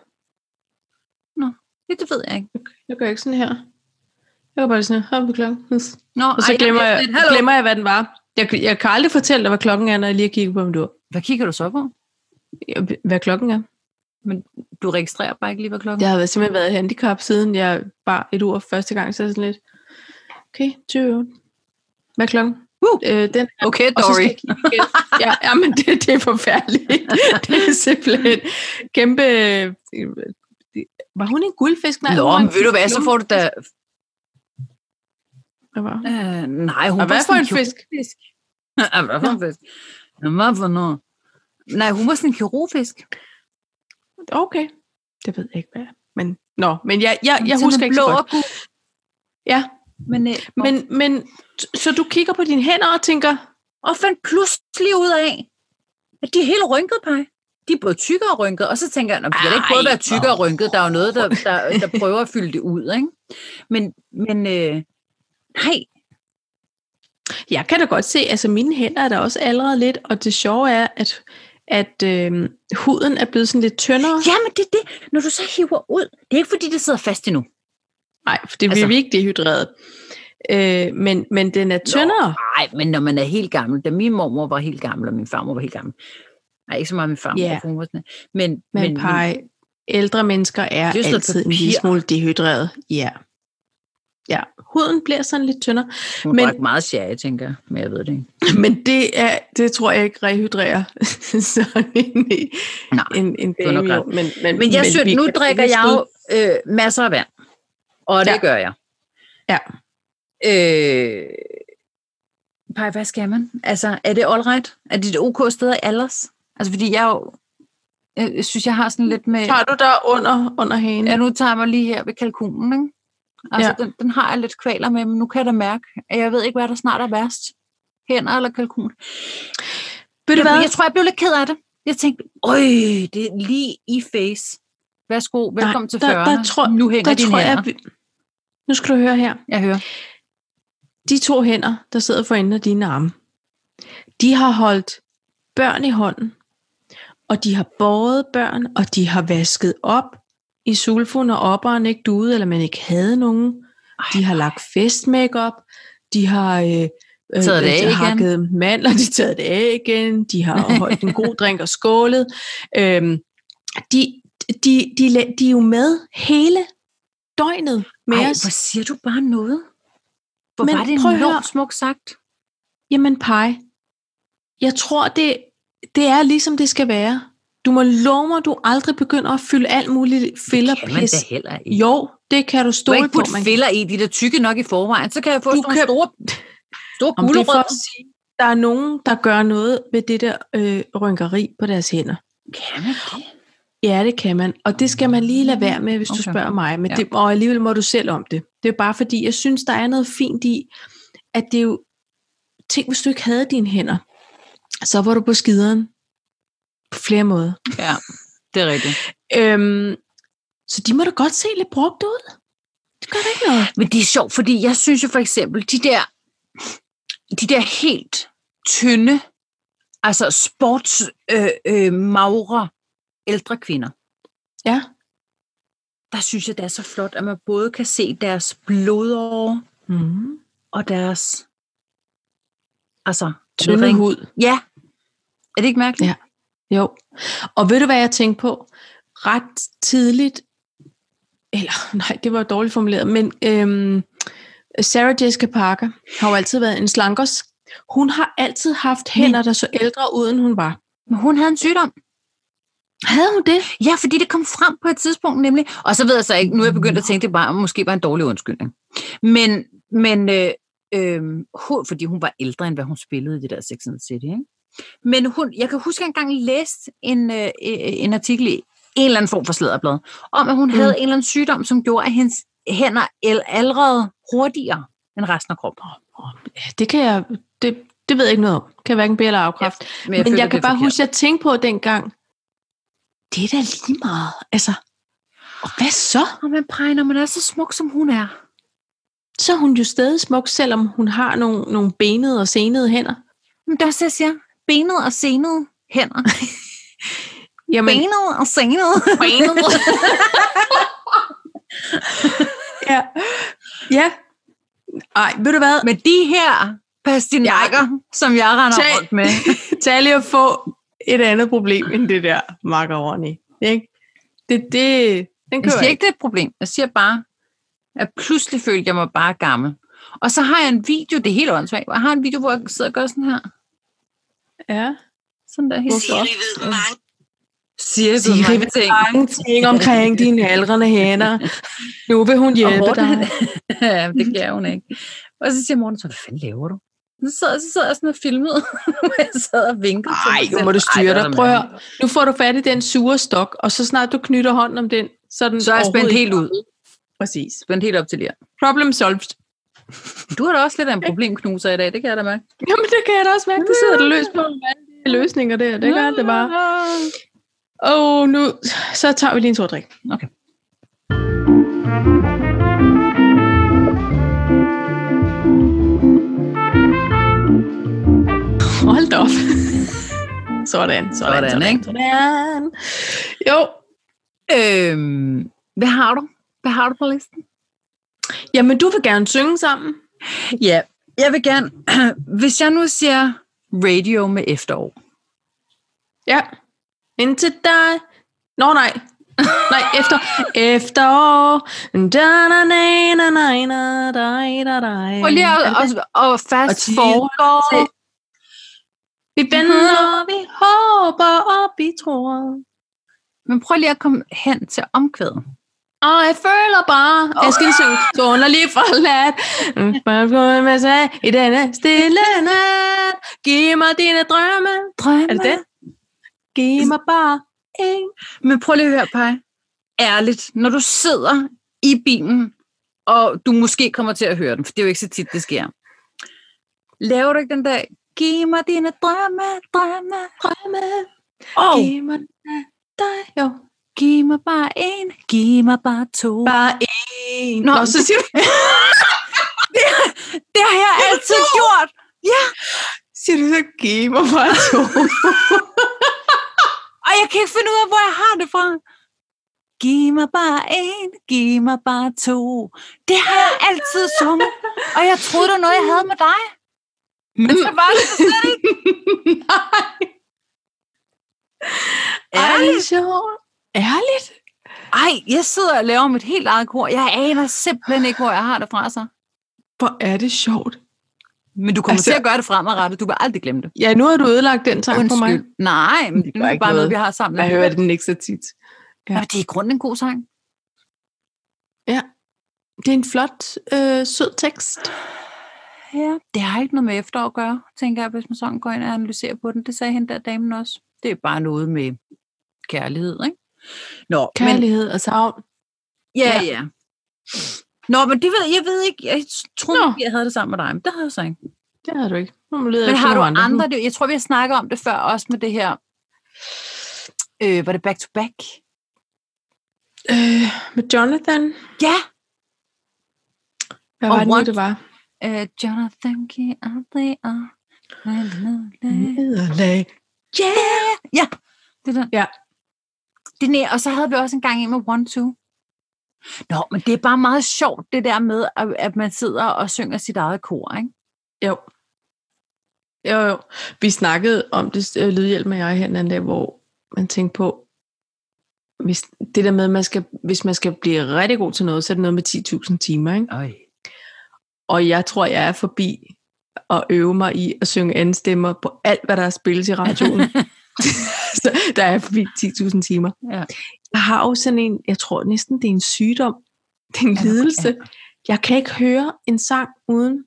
B: Det, det ved jeg ikke.
A: Jeg gør ikke sådan her. Jeg gør bare sådan her. Hop på klokken. Hus.
B: Nå,
A: Og så
B: ej,
A: glemmer jeg,
B: lidt, hallo.
A: glemmer jeg, hvad den var. Jeg, jeg kan aldrig fortælle dig, hvad klokken er, når jeg lige har kigget på, om du
B: Hvad kigger du så på?
A: hvad klokken er.
B: Du registrerer bare ikke lige, hvad klokken
A: Jeg har været- simpelthen været i handicap, siden jeg bar et ur første gang, så er jeg sådan lidt, okay, 20 Hvad er klokken?
B: Uh!
A: Øh, den
B: er. Okay,
A: Og så skal jeg kigge igen. ja, ja, men det, det er forfærdeligt. det er simpelthen kæmpe... øh, Var hun en guldfisk? Nej,
B: Nå,
A: hun var
B: men
A: en
B: ved du hvad, så får du da...
A: Hvad var hun?
B: Øh, nej, hun
A: Og hvad for en fisk?
B: kirurgisk. Ah, hvad for en fisk? Nå, Hvad for noget? Nej, hun var sådan en kirurgisk.
A: Okay, det ved jeg ikke, hvad er. men Nå, men jeg, jeg, jeg
B: Sådan
A: husker
B: en
A: ikke så
B: blå
A: godt.
B: og gul.
A: Ja.
B: Men, øh, men,
A: Men, men, så du kigger på dine hænder og tænker,
B: og fandt pludselig ud af, at de er helt rynket, pej. De er både tykke og rynket, og så tænker jeg, at det er ikke både
A: Ej,
B: være tykke og rynket, der er jo noget, der, der, der prøver at fylde det ud, ikke? Men, men øh, nej,
A: Jeg kan da godt se, altså mine hænder er der også allerede lidt, og det sjove er, at, at øh, huden er blevet sådan lidt tyndere.
B: Jamen, det er det. Når du så hiver ud, det er ikke fordi, det sidder fast endnu.
A: Nej, for det bliver
B: Altså-
A: vi ikke dehydreret. Øh, men, men den er tyndere.
B: Nej, men når man er helt gammel, da min mormor var helt gammel, og min farmor var helt gammel. Nej, ikke så meget min farmor,
A: Ja.
B: yeah. hun var sådan, men, men,
A: Men pej, ældre mennesker er
B: Det er sådan
A: altid en
B: papir.
A: lille smule dehydreret. Ja. Ja, huden bliver sådan lidt tyndere.
B: men hun
A: men-
B: drak meget sherry, tænker jeg, men jeg ved det ikke.
A: Men det, er, det tror jeg ikke rehydrerer sådan en,
B: Nej,
A: en, en
B: var nok
A: dame. jo.
B: ret.
A: Men, men,
B: Men jeg synes,
A: vi
B: nu
A: kan
B: drikker jeg jo øh, masser af vand, og det
A: Ja.
B: gør jeg.
A: Ja.
B: Øh, Paj, hvad skal man? Altså, er det all right? Er det et ok sted alders? Altså, fordi jeg jo, jeg synes, jeg har sådan lidt med...
A: Tager du der under, under hagen?
B: Ja, nu tager jeg mig lige her ved kalkunen, ikke? Altså, ja. den, den har jeg lidt kvaler med, men nu kan jeg da mærke, at jeg ved ikke, hvad der snart er værst. Hænder eller kalkun.
A: Ved du
B: Jeg,
A: hvad?
B: jeg tror, jeg blev lidt ked af det. Jeg tænkte, øj, det er lige i face. Værsgo, velkommen til
A: der-
B: 40'erne.
A: der tror-
B: nu hænger
A: der
B: dine
A: tror jeg,
B: hænder.
A: vi... Nu skal du høre her.
B: Jeg hører.
A: De to hænder, der sidder for enden af dine arme, de har holdt børn i hånden, og de har båret børn, og de har vasket op i sulfon, og opperen ikke duede, eller man ikke havde nogen. De har lagt fest makeup, de har øh, øh,
B: Taget det af
A: de
B: igen.
A: har hakket mandler, de har taget det af igen, de har holdt en god drink og skålet. Øhm, de, de, de, la- de er jo med hele døgnet med
B: Ej,
A: os.
B: hvor siger du bare noget? Hvor
A: Men
B: var det
A: prøv at
B: en
A: høre.
B: enormt smukt sagt?
A: Jamen pej, jeg tror, det, det er ligesom det skal være. Du må love mig, du aldrig begynder at fylde alt muligt filler
B: Kan man
A: pis.
B: da heller ikke.
A: Jo, det kan du
B: Du
A: stå
B: har
A: på.
B: ikke putte
A: man-
B: filler i, de der tykke nok i forvejen, så kan jeg få
A: Du
B: sådan nogle
A: kan-
B: store, store
A: Om det er for
B: gulerødder.
A: at sige, der er nogen, der gør noget ved det der øh, rynkeri på deres hænder.
B: Kan man det?
A: Ja, det kan man, og det skal man lige lade være med, hvis okay. du
B: Okay.
A: spørger mig, men
B: Ja.
A: ja. det, og alligevel må du selv om det. Det er bare fordi, jeg synes, der er noget fint i, at det er jo, tænk hvis du ikke havde dine hænder, så var du på skideren på flere måder.
B: Ja, det er rigtigt.
A: Øhm, så de må da godt se lidt brugt ud. Det gør da ikke noget.
B: Men det er sjovt, fordi jeg synes jo for eksempel, de der, de der helt tynde, altså sports øh, øh, magre ældre kvinder,
A: Ja,
B: der synes jeg, det er så flot, at man både kan se deres blodårer
A: mm.
B: og deres... Altså,
A: tynde
B: ring-
A: hud.
B: Ja. Er det ikke mærkeligt?
A: Ja. Jo. Og ved du, hvad jeg tænkte på? Ret tidligt, eller nej, det var dårligt formuleret, men øhm, Sarah Jessica Parker har jo altid været en slankers. Hun har altid haft hænder, der så ældre ud, end hun var.
B: Men hun havde en sygdom.
A: Havde hun det?
B: Ja, fordi det kom frem på et tidspunkt nemlig. Og så ved jeg så ikke, nu er jeg begyndt at tænke, det bare, måske var en dårlig undskyldning. Men, men øh, øh, hun- fordi hun var ældre, end hvad hun spillede i det der Sex and the City. Ikke? Men hun, jeg kan huske, at jeg engang læste en, øh, øh, en artikel i en eller anden form for slæderblad, om at hun mm.
A: Mm.
B: havde en eller anden sygdom, som gjorde, at hendes hænder el- allerede hurtigere end resten af kroppen.
A: Ja, Det kan jeg, det, det ved jeg ikke noget om. Kan hverken bede eller afkræfte. Ja, men jeg, men
B: føler,
A: jeg
B: det
A: kan
B: er
A: bare
B: forkert.
A: huske, at jeg tænkte på dengang, det er da lige meget. Altså, og hvad så?
B: Og man peger, når man er så smuk, som hun er.
A: Så er hun jo stadig smuk, selvom hun har nogle, nogle benede og senede hænder.
B: Men der ser jeg, siger, benet og senet hænder.
A: Jamen,
B: Benet og senet.
A: benet. ja. Ja. Ej, ved du hvad?
B: Med de her pastinakker, ja. som jeg render
A: Tag-
B: rundt med.
A: Tag lige at få et andet problem end det der macaroni. Ikke? Det, det, den
B: Jeg
A: kører
B: siger
A: ikke.
B: ikke, det er et problem. Jeg siger bare, at pludselig følte jeg mig bare gammel. Og så har jeg en video, det er helt åndssvagt, jeg har en video, hvor jeg sidder og gør sådan her.
A: Ja.
B: Sådan der helt
A: Hvorfor?
C: Siri ved mange
B: Siger så
A: Siri
B: mange
A: ved
B: ting.
A: mange ting omkring dine aldrende hænder. Nu vil hun
B: Og
A: hjælpe
B: Morten,
A: dig.
B: ja, det kan hun ikke. Og så siger Morten, så hvad fanden laver du? Så sad, så sad jeg sådan og filmede, hvor jeg sad og vinkede. til mig
A: Ej, nu
B: selv.
A: må du
B: Ej,
A: styre
B: det var
A: dig.
B: da
A: Prøv at
B: mærkeligt.
A: høre. Nu får du fat i den sure stok, og så snart du knytter hånden om den, så er den
B: Så er jeg spændt
A: overhovedet
B: helt
A: ikke-
B: ud.
A: Præcis.
B: Spændt helt op til jer.
A: Problem solved.
B: Du har da også lidt af en problemknuser i dag, det kan jeg da mærke.
A: Jamen, det kan jeg da også mærke. Det sidder du løs på med alle de løsninger der. Det gør det bare. Åh, oh, nu... Så tager vi lige en sort drik.
B: Okay.
A: Hold da op. sådan, sådan, sådan,
B: Sådan, ikke?
A: sådan. Jo,
B: Øhm, hvad har du? Hvad har du på listen?
A: jamen du vil gerne synge sammen.
B: Ja, jeg vil gerne... Hvis jeg nu siger radio med efterår.
A: Ja. Indtil dig. Nå, nej. Nej, efter. Efterår. Da, da, na, na, na, na, da, da, da.
B: Og lige at, og, og
A: Og
B: fast
A: tiden
B: forgår til...
A: til- Vi venter,
B: Mhm.
A: og vi håber, og vi tror.
B: Men prøv lige at komme hen til omkvædet.
A: Og jeg føler bare, oh. jeg skal lige synge, så underlig forladt. Mm, Bare gå med sig i denne stille nat. Giv mig dine drømme.
B: Drømme.
A: Er det det? Giv mig bare en.
B: Men prøv lige at høre, Paj. Ærligt, når du sidder i bilen, og du måske kommer til at høre den, for det er jo ikke så tit, det sker. Laver du ikke den der, giv mig dine drømme, drømme,
A: drømme.
B: og
A: Giv mig dig. Jo.
B: giv mig bare en, giv mig bare to.
A: Bare en.
B: Nå,
A: Nå, så siger,
B: Det har jeg altid gjort.
A: siger du så, giv mig bare to.
B: Og jeg kan ikke finde ud af, hvor jeg har det fra. Giv mig bare en, giv mig bare to. Det har jeg altid sunget, og jeg troede, det var noget, jeg havde med dig. Men så var det slet ikke.
A: Ej,
B: Ærligt.
A: sjovt. Ærligt?
B: Ej, jeg sidder og laver mit helt eget kor. Jeg aner simpelthen ikke, hvor jeg har det fra sig.
A: Hvor er det sjovt.
B: Men du kommer altså,
A: Altså-
B: til at gøre det fremadrettet. Du vil aldrig glemme det.
A: Ja, nu har du ødelagt den tanke for mig.
B: Nej, men det
A: gør
B: er
A: ikke
B: bare noget,
A: noget.
B: vi har sammen.
A: Jeg hører den ikke så tit.
B: Ja. det er i grunden en god sang.
A: Det er en flot, øh, sød tekst.
B: ja, det har ikke noget med efterår at gøre, tænker jeg, hvis man sådan går ind og analyserer på den. Det sagde hende der damen også. Det er bare noget med kærlighed, ikke? Nå, men,
A: Kærlighed og savn.
B: ja, ja. Nå, men det ved jeg ved ikke. Jeg
A: Nå.
B: tror, jeg havde det sammen med dig, men det havde jeg så ikke.
A: Det har du ikke. Nu må du lede
B: Men
A: efter
B: har du
A: nogle
B: andre? andre? Det- Jeg tror, vi har snakket om det før, også med det her. Øh, var det back to back?
A: Øh, med Jonathan.
B: Ja.
A: Hvad
B: Og
A: var det nu,
B: what?
A: det var?
B: Øh, Jonathan, giv aldrig op. La, la, la.
A: Mm. Nederlag.
B: Yeah! Ja, det der.
A: Ja.
B: Det er, og så havde vi også en gang en med One Two. Nå, men det er bare meget sjovt, det der med, at, at man sidder og synger sit eget kor, ikke?
A: Jo. Jo, jo. Vi snakkede om det, øh, Lydhjælp med jeg her den anden dag, hvor man tænkte på, hvis, det der med, at man skal, hvis man skal blive rigtig god til noget, så er det noget med 10.000 timer. Ikke?
B: Øj.
A: Og jeg tror, jeg er forbi at øve mig i at synge anden stemmer på alt, hvad der er spillet i radioen. så der er jeg forbi 10.000 timer.
B: Ja.
A: Jeg har jo sådan en, jeg tror næsten, det er en sygdom. Det er en
B: Ja,
A: lidelse. Jeg kan ikke høre en sang uden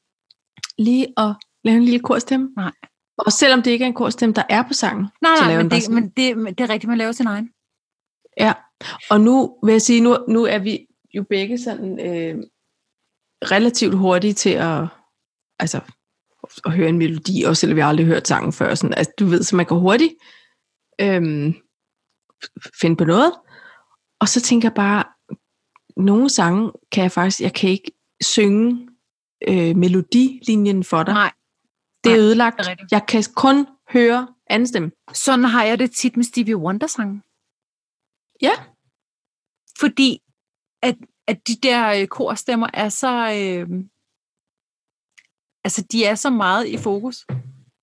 A: lige at lave en lille korstemme.
B: Nej.
A: Og selvom det ikke er en korstemme, der er på sangen.
B: Nej,
A: Så
B: nej,
A: laver den
B: men
A: bare
B: det,
A: sådan.
B: men, det, men det er rigtigt, man laver sin egen.
A: Ja. Og nu vil jeg sige, nu, nu er vi jo begge sådan øh, relativt hurtige til at, altså, at høre en melodi, også selvom vi aldrig har hørt sangen før. Sådan, altså, du ved, så man kan hurtigt øh, finde på noget. Og så tænker jeg bare, nogle sange kan jeg faktisk, jeg kan ikke synge øh, melodilinjen for dig.
B: Nej,
A: det er
B: nej,
A: ødelagt.
B: det er rigtigt.
A: jeg kan kun høre anden stemme.
B: Sådan har jeg det tit med Stevie Wonder-sangen.
A: Ja.
B: Fordi at, at de der øh, korstemmer er så... Øh, altså, de er så meget i fokus.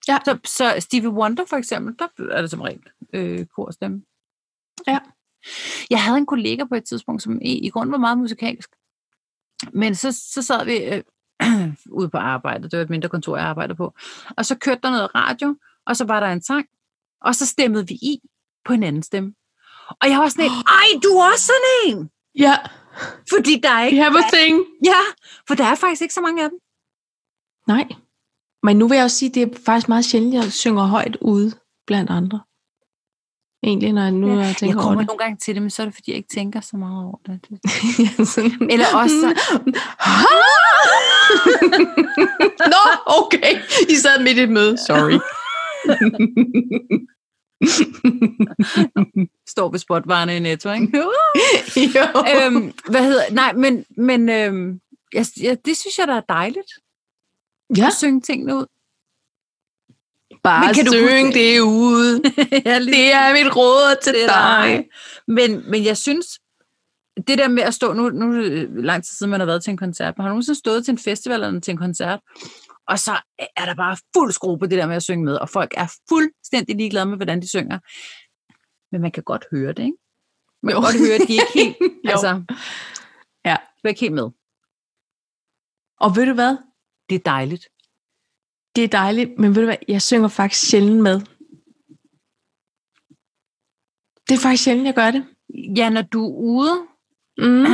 A: Ja.
B: Så, så Stevie Wonder for eksempel, der er det som regel øh, korstemme.
A: Ja.
B: Jeg havde en kollega på et tidspunkt, som i, i grunden var meget musikalsk. Men så, så sad vi øh, ude på arbejde. Det var et mindre kontor, jeg arbejdede på. Og så kørte der noget radio, og så var der en sang. Og så stemmede vi i på en anden stemme. Og jeg var sådan lidt, ej, du er også sådan en!
A: Ja,
B: Fordi der er
A: we
B: ikke...
A: have a thing.
B: Ja, for der er faktisk ikke så mange af dem.
A: Nej. Men nu vil jeg også sige, at det er faktisk meget sjældent, at jeg synger højt ude blandt andre. Egentlig, når jeg nu
B: Ja,
A: ja.
B: Jeg
A: tænker over
B: kommer
A: det.
B: nogle gange til det, men så er det, fordi jeg ikke tænker så meget over det. Det-
A: Ja, sådan.
B: Eller også så-
A: Nå, okay. I sad midt i et møde. Sorry.
B: står ved spotvarerne i Netto, ikke?
A: jo.
B: øhm, hvad hedder... Nej, men, men øhm, jeg, jeg, det synes jeg, der er dejligt
A: ja,
B: at synge tingene ud.
A: bare
B: Men kan
A: kan
B: du
A: syng
B: huske-
A: det ude.
B: ja, lige
A: Det er mit råd til
B: det er
A: dig.
B: dig. Men, men jeg synes, det der med at stå, nu, nu er det lang tid siden, man har været til en koncert, men har du nogensinde stået til en festival eller til en koncert, og så er der bare fuld skrue på det der med at synge med, og folk er fuldstændig ligeglade med, hvordan de synger. Men man kan godt høre det, ikke? Man kan
A: Jo.
B: godt høre, at de ikke helt,
A: Jo.
B: altså,
A: Ja.
B: du er ikke helt med.
A: Og ved du hvad?
B: Det er dejligt.
A: Det er dejligt, men ved du hvad, jeg synger faktisk sjældent med. Det er faktisk sjældent, jeg gør det.
B: Ja, når du er ude,
A: Mm.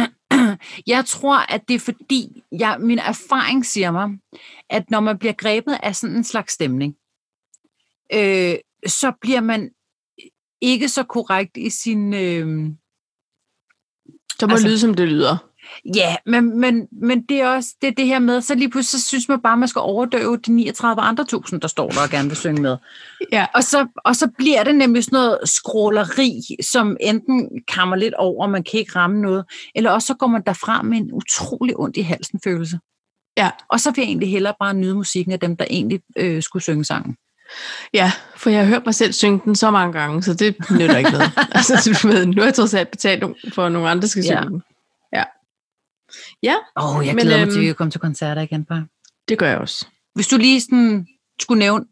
B: Jeg tror, at det er fordi, jeg, min erfaring siger mig, at når man bliver grebet af sådan en slags stemning, øh, så bliver man ikke så korrekt i sin... Øh,
A: Så må det
B: Altså-
A: lyde, som det lyder.
B: ja, men, men, men det er også det, er det her med, så lige pludselig så synes man bare, man skal overdøve de 39 andre tusind, der står der og gerne vil synge med.
A: Ja.
B: Og så, og så bliver det nemlig sådan noget skråleri, som enten kammer lidt over, og man kan ikke ramme noget, eller også så går man derfra med en utrolig ondt i halsen følelse.
A: Ja.
B: Og så vil jeg egentlig hellere bare nyde musikken af dem, der egentlig øh, skulle synge sangen.
A: Ja, for jeg har hørt mig selv synge den så mange gange, så det nytter ikke noget. altså, du ved, nu har jeg trods alt betalt nogen- for, at nogle andre skal
B: Ja.
A: synge den.
B: Åh, oh,
A: Men,
B: jeg Men, glæder mig til,
A: øhm,
B: at vi kan komme til koncerter igen bare.
A: Det gør jeg også.
B: Hvis du lige sådan skulle nævne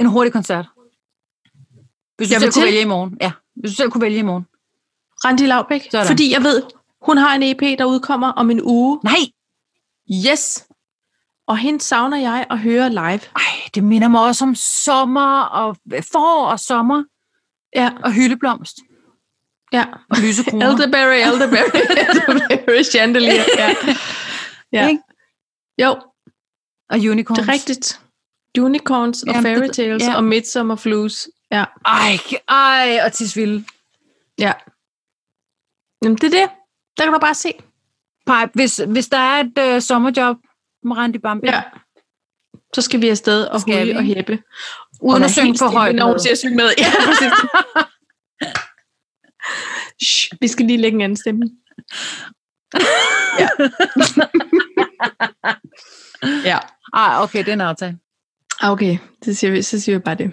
B: en hurtig koncert. Hvis du
A: Jeg
B: selv
A: vil
B: kunne
A: til.
B: vælge i morgen. Ja, hvis du selv kunne vælge i morgen.
A: Randi Laubæk,
B: Sådan.
A: fordi jeg ved, hun har en EP, der udkommer om en uge.
B: Nej,
A: Yes! Og hende savner jeg at høre live.
B: Ej, det minder mig også om sommer og forår og sommer
A: Ja,
B: og hyldeblomst
A: ja.
B: og lysekroner.
A: Elderberry, elderberry, elderberry, chandelier. Ja. ja.
B: Ikke?
A: Jo,
B: Og unicorns.
A: Det er rigtigt. Unicorns og
B: Jamen, det-
A: fairy tales
B: ja.
A: og midsummer blues. Ja,
B: Ej, ej, og tisvilde.
A: ja. Jamen, det er det. Der kan du bare se.
B: Pej, hvis, hvis der er et øh, sommerjob, Randy Bambi,
A: Ja. Så skal vi afsted og
B: Skal vi?
A: hule og hæppe.
B: uden at synge for højt.
A: Når hun
B: med.
A: siger synge med. Ja, præcis. Shh, vi skal lige lægge en anden stemme. Ja. ja. Ah,
B: Ej, okay, det er en aftale.
A: Okay, det siger vi, så siger vi bare det.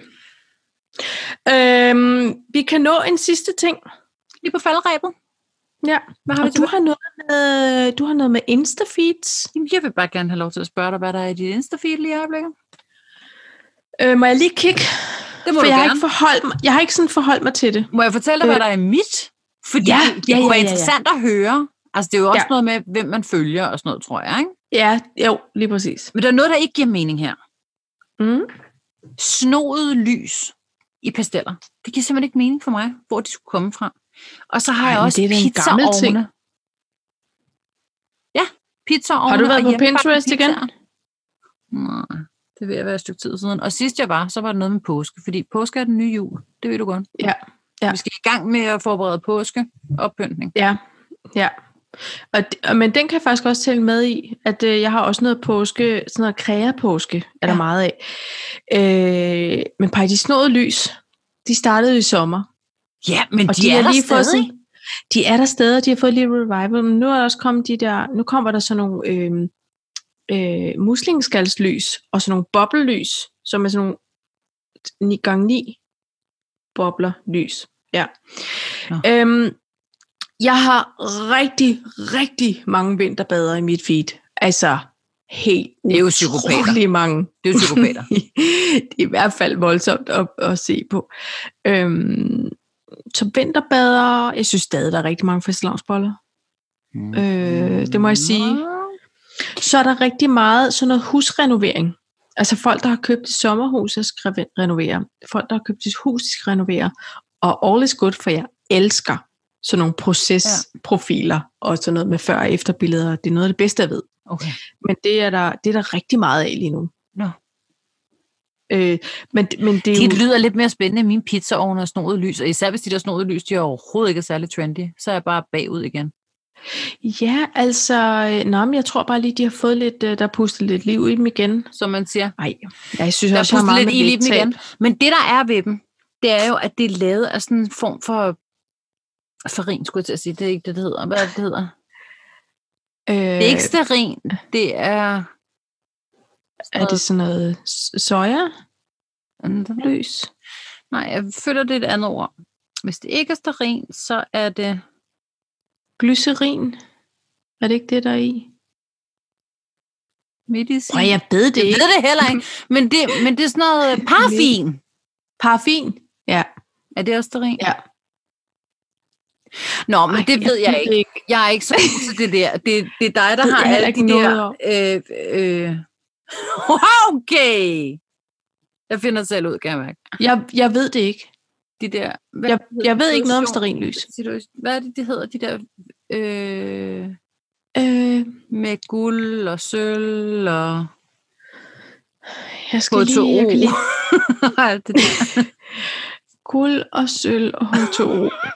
A: Øhm, vi kan nå en sidste ting.
B: Lige på faldrebet.
A: Ja.
B: Hvad har
A: Og
B: vi
A: du
B: tilbage?
A: har noget med, du har noget med Instafeeds.
B: Jamen, Jeg vil bare gerne have lov til at spørge dig, hvad der er i dit Insta-feed lige i øjeblikket.
A: Øh, må jeg lige kigge?
B: Det må
A: For
B: du
A: jeg har,
B: gerne.
A: ikke forholdt mig, jeg har ikke sådan forholdt mig til det.
B: Må jeg fortælle dig, hvad
A: Øh,
B: der er i mit? Fordi
A: ja,
B: det
A: ja,
B: kunne
A: ja,
B: være
A: ja, ja.
B: interessant at høre. Altså, det er jo også
A: Ja.
B: noget med, hvem man følger og sådan noget, tror jeg. Ikke?
A: Ja, jo, lige præcis.
B: Men der er noget, der ikke giver mening her.
A: Mm.
B: Snoet lys i pasteller. Det giver simpelthen ikke mening for mig, hvor de skulle komme fra. Og så har
A: Ej,
B: jeg
A: men
B: også
A: det er da en gammel
B: pizzaovne.
A: ting.
B: Ja, pizzaovne.
A: Har du været
B: og
A: på
B: hjemmebagte
A: Pinterest igen?
B: pizzaer. Nej, det vil jeg være et stykke tid siden. Og sidst jeg var, så var det noget med påske, fordi påske er den nye jul. Det ved du godt.
A: Ja, ja.
B: Vi skal i gang med at forberede påske og pyntning.
A: Ja, ja. Og, d- og, men den kan jeg faktisk også tælle med i, at øh, jeg har også noget påske, sådan noget kræa-påske, er ja.
B: Ja.
A: der meget af. Øh, men Paj, de snåede lys, de startede i sommer.
B: Ja, men
A: Og de, de har lige fået sådan, de er der stadig, og de har fået lidt revival, men nu er der også kommet de der, nu kommer der sådan nogle øh, øh, muslingskalslys, og sådan nogle boblelys, som er sådan nogle 9 gange 9 bobler lys. Ja.
B: Nå.
A: Øhm, jeg har rigtig, rigtig mange vinterbader i mit feed. Altså, helt
B: Det er jo psykopater.
A: utrolig mange.
B: Det er jo psykopater.
A: det er i hvert fald voldsomt at, at se på. Øhm, så vinterbader, jeg synes stadig, der er rigtig mange fastelavnsboller. Øh, det må jeg sige. Så er der rigtig meget sådan noget husrenovering. Altså folk, der har købt et sommerhus, der skal re- renovere. Folk, der har købt et hus, de skal renovere. Og all is good, for jeg elsker sådan nogle procesprofiler og sådan noget med før- og efterbilleder. Det er noget af det bedste, jeg ved.
B: Okay.
A: Men det er der, det er der rigtig meget af lige nu.
B: Nå.
A: Øh, men, men det er jo...
B: Det lyder lidt mere spændende end mine pizzaovne og snodet lys, og især hvis de der snodet lys, de er overhovedet ikke særlig trendy, så er jeg bare bagud igen.
A: Ja, altså, øh, nå, men jeg tror bare lige, de har fået lidt, øh, der er pustet lidt liv i dem igen.
B: Som man siger,
A: Nej, jeg synes
B: der er
A: også, jeg har
B: pustet
A: meget
B: lidt ild i
A: med
B: dem igen. Men det, der er ved dem, det er jo, at det er lavet af sådan en form for... Farin, skulle jeg til at sige. Det er ikke det, det hedder. Hvad er det, det hedder?
A: Øh,
B: Det er ikke sterin. Det er...
A: er det sådan noget s- soja? Løs?
B: Nej, jeg føler, det er et andet ord. Hvis det ikke er sterin, så er det...
A: Glycerin? Er det ikke det, der er i?
B: Medicin.
A: Prøv, jeg ved det
B: Jeg
A: ikke.
B: ved det heller ikke, men det, men det er sådan noget parfin.
A: Paraffin? Ja.
B: Er det også sterin?
A: Ja.
B: Nå, men Ej, det ved jeg,
A: ved
B: ikke. Jeg er ikke så god til det der. Det, det er dig, der
A: Ved
B: har
A: jeg
B: alle
A: ikke
B: de der...
A: noget
B: Øh, øh. Okay! Jeg finder selv ud, kan jeg mærke.
A: Jeg, jeg ved det ikke.
B: De der, hvad
A: Jeg,
B: hedder
A: jeg ved ikke noget om
B: situation-
A: sterinlys.
B: situation- Hvad er det, de hedder? De der øh,
A: Øh,
B: med guld og sølv og...
A: jeg skal lige, jeg kan lige
B: Alt det der.
A: Guld og sølv og H2O.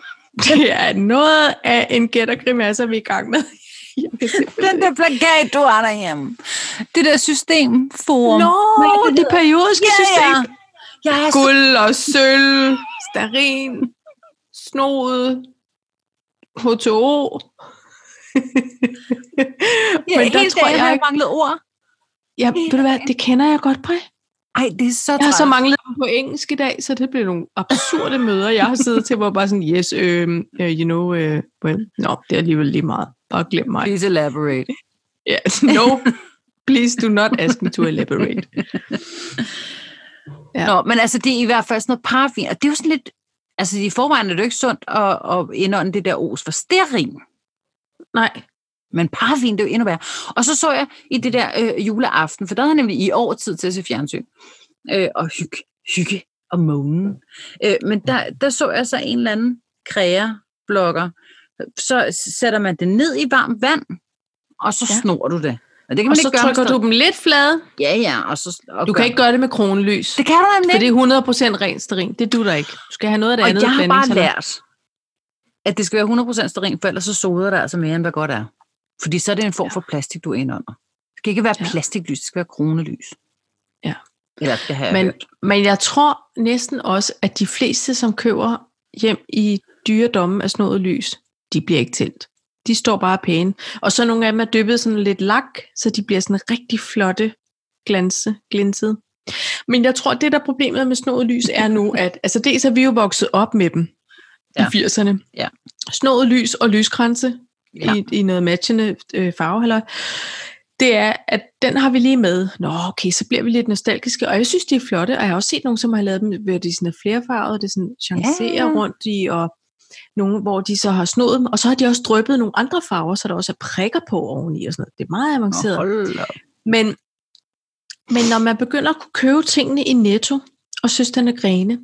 A: Det er noget af en gættergrimasse, vi er i gang med. Jeg kan simpelthen
B: Den der plakat, du har derhjemme. Det der system, forum.
A: Nå,
B: Hvad er
A: det, det
B: hedder?
A: periodiske
B: Ja, Altså-
A: system.
B: ja. Jeg er så
A: Guld og sølv, starin, snod, H2O.
B: Ja,
A: Men der tror jeg,
B: har
A: ikke-
B: manglet ord.
A: ja, ved du hvad, det kender jeg godt, Brej.
B: Ej, det er så
A: Jeg har så
B: træls.
A: manglet dem på engelsk i dag, så det blev nogle absurde møder, jeg har siddet til, hvor jeg bare sådan, yes, øhm, øh, you know, øh, well, no, det er alligevel lige meget. Bare glem mig.
B: Please elaborate.
A: Yes, no, please do not ask me to elaborate. Ja.
B: Ja. Nå, men altså, det er i hvert fald sådan noget parfum, og det er jo sådan lidt... Altså, i forvejen er det jo ikke sundt at, at indånde det der os for sterin.
A: Nej,
B: Men parfum, det er jo endnu værre. Og så så jeg i det der øh, juleaften, for der havde jeg nemlig i år tid til at se fjernsyn. Øh, og hygge, hygge og månen. Øh, men der, der så jeg så en eller anden kræger-blogger. Så sætter man det ned i varmt vand, og så
A: Ja.
B: ja. snor du det. Og det kan man
A: Og så
B: ikke gøre med
A: trykker
B: sådan-
A: du dem lidt flade.
B: Ja, ja. Og så, og
A: Du
B: gør-
A: kan ikke gøre det med kronlys.
B: Det kan du nemlig
A: For det
B: ikke.
A: er 100% ren sterin. Det du der ikke. Du skal have noget af det
B: Og
A: andet.
B: jeg har bare
A: blandingssalat.
B: lært, at det skal være 100% sterin, for ellers så soder der altså mere, end hvad godt er. Fordi så er det en form
A: Ja.
B: for plastik, du er inde under. Det skal ikke være
A: Ja.
B: plastiklys, det skal være kronelys.
A: Ja.
B: Eller det har jeg
A: Men-
B: hørt.
A: Men jeg tror næsten også, at de fleste, som køber hjem i dyre domme af sådan noget lys, de bliver ikke tændt. De står bare pæne. Og så nogle af dem er dyppet sådan lidt lak, så de bliver sådan rigtig flotte glanse, glinsede. Men jeg tror, det der er problemet med sådan noget lys er nu, at altså dels er vi jo vokset op med dem
B: Ja.
A: ja. i 80'erne.
B: Ja.
A: Snået lys og lyskranse
B: Ja.
A: ja. i, i noget matchende øh, farve, eller det er, at den har vi lige med. Nå, okay, så bliver vi lidt nostalgiske, og jeg synes, de er flotte, og jeg har også set nogle, som har lavet dem, hvor de sådan er flerfarvede, det er sådan chancerer
B: Ja.
A: ja. rundt i, og nogle, hvor de så har snået dem, og så har de også drøbet nogle andre farver, så der også er prikker på oveni og sådan noget. Det er meget
B: Nå,
A: avanceret.
B: hold op.
A: Men, men når man begynder at kunne købe tingene i netto, og søsterne grene,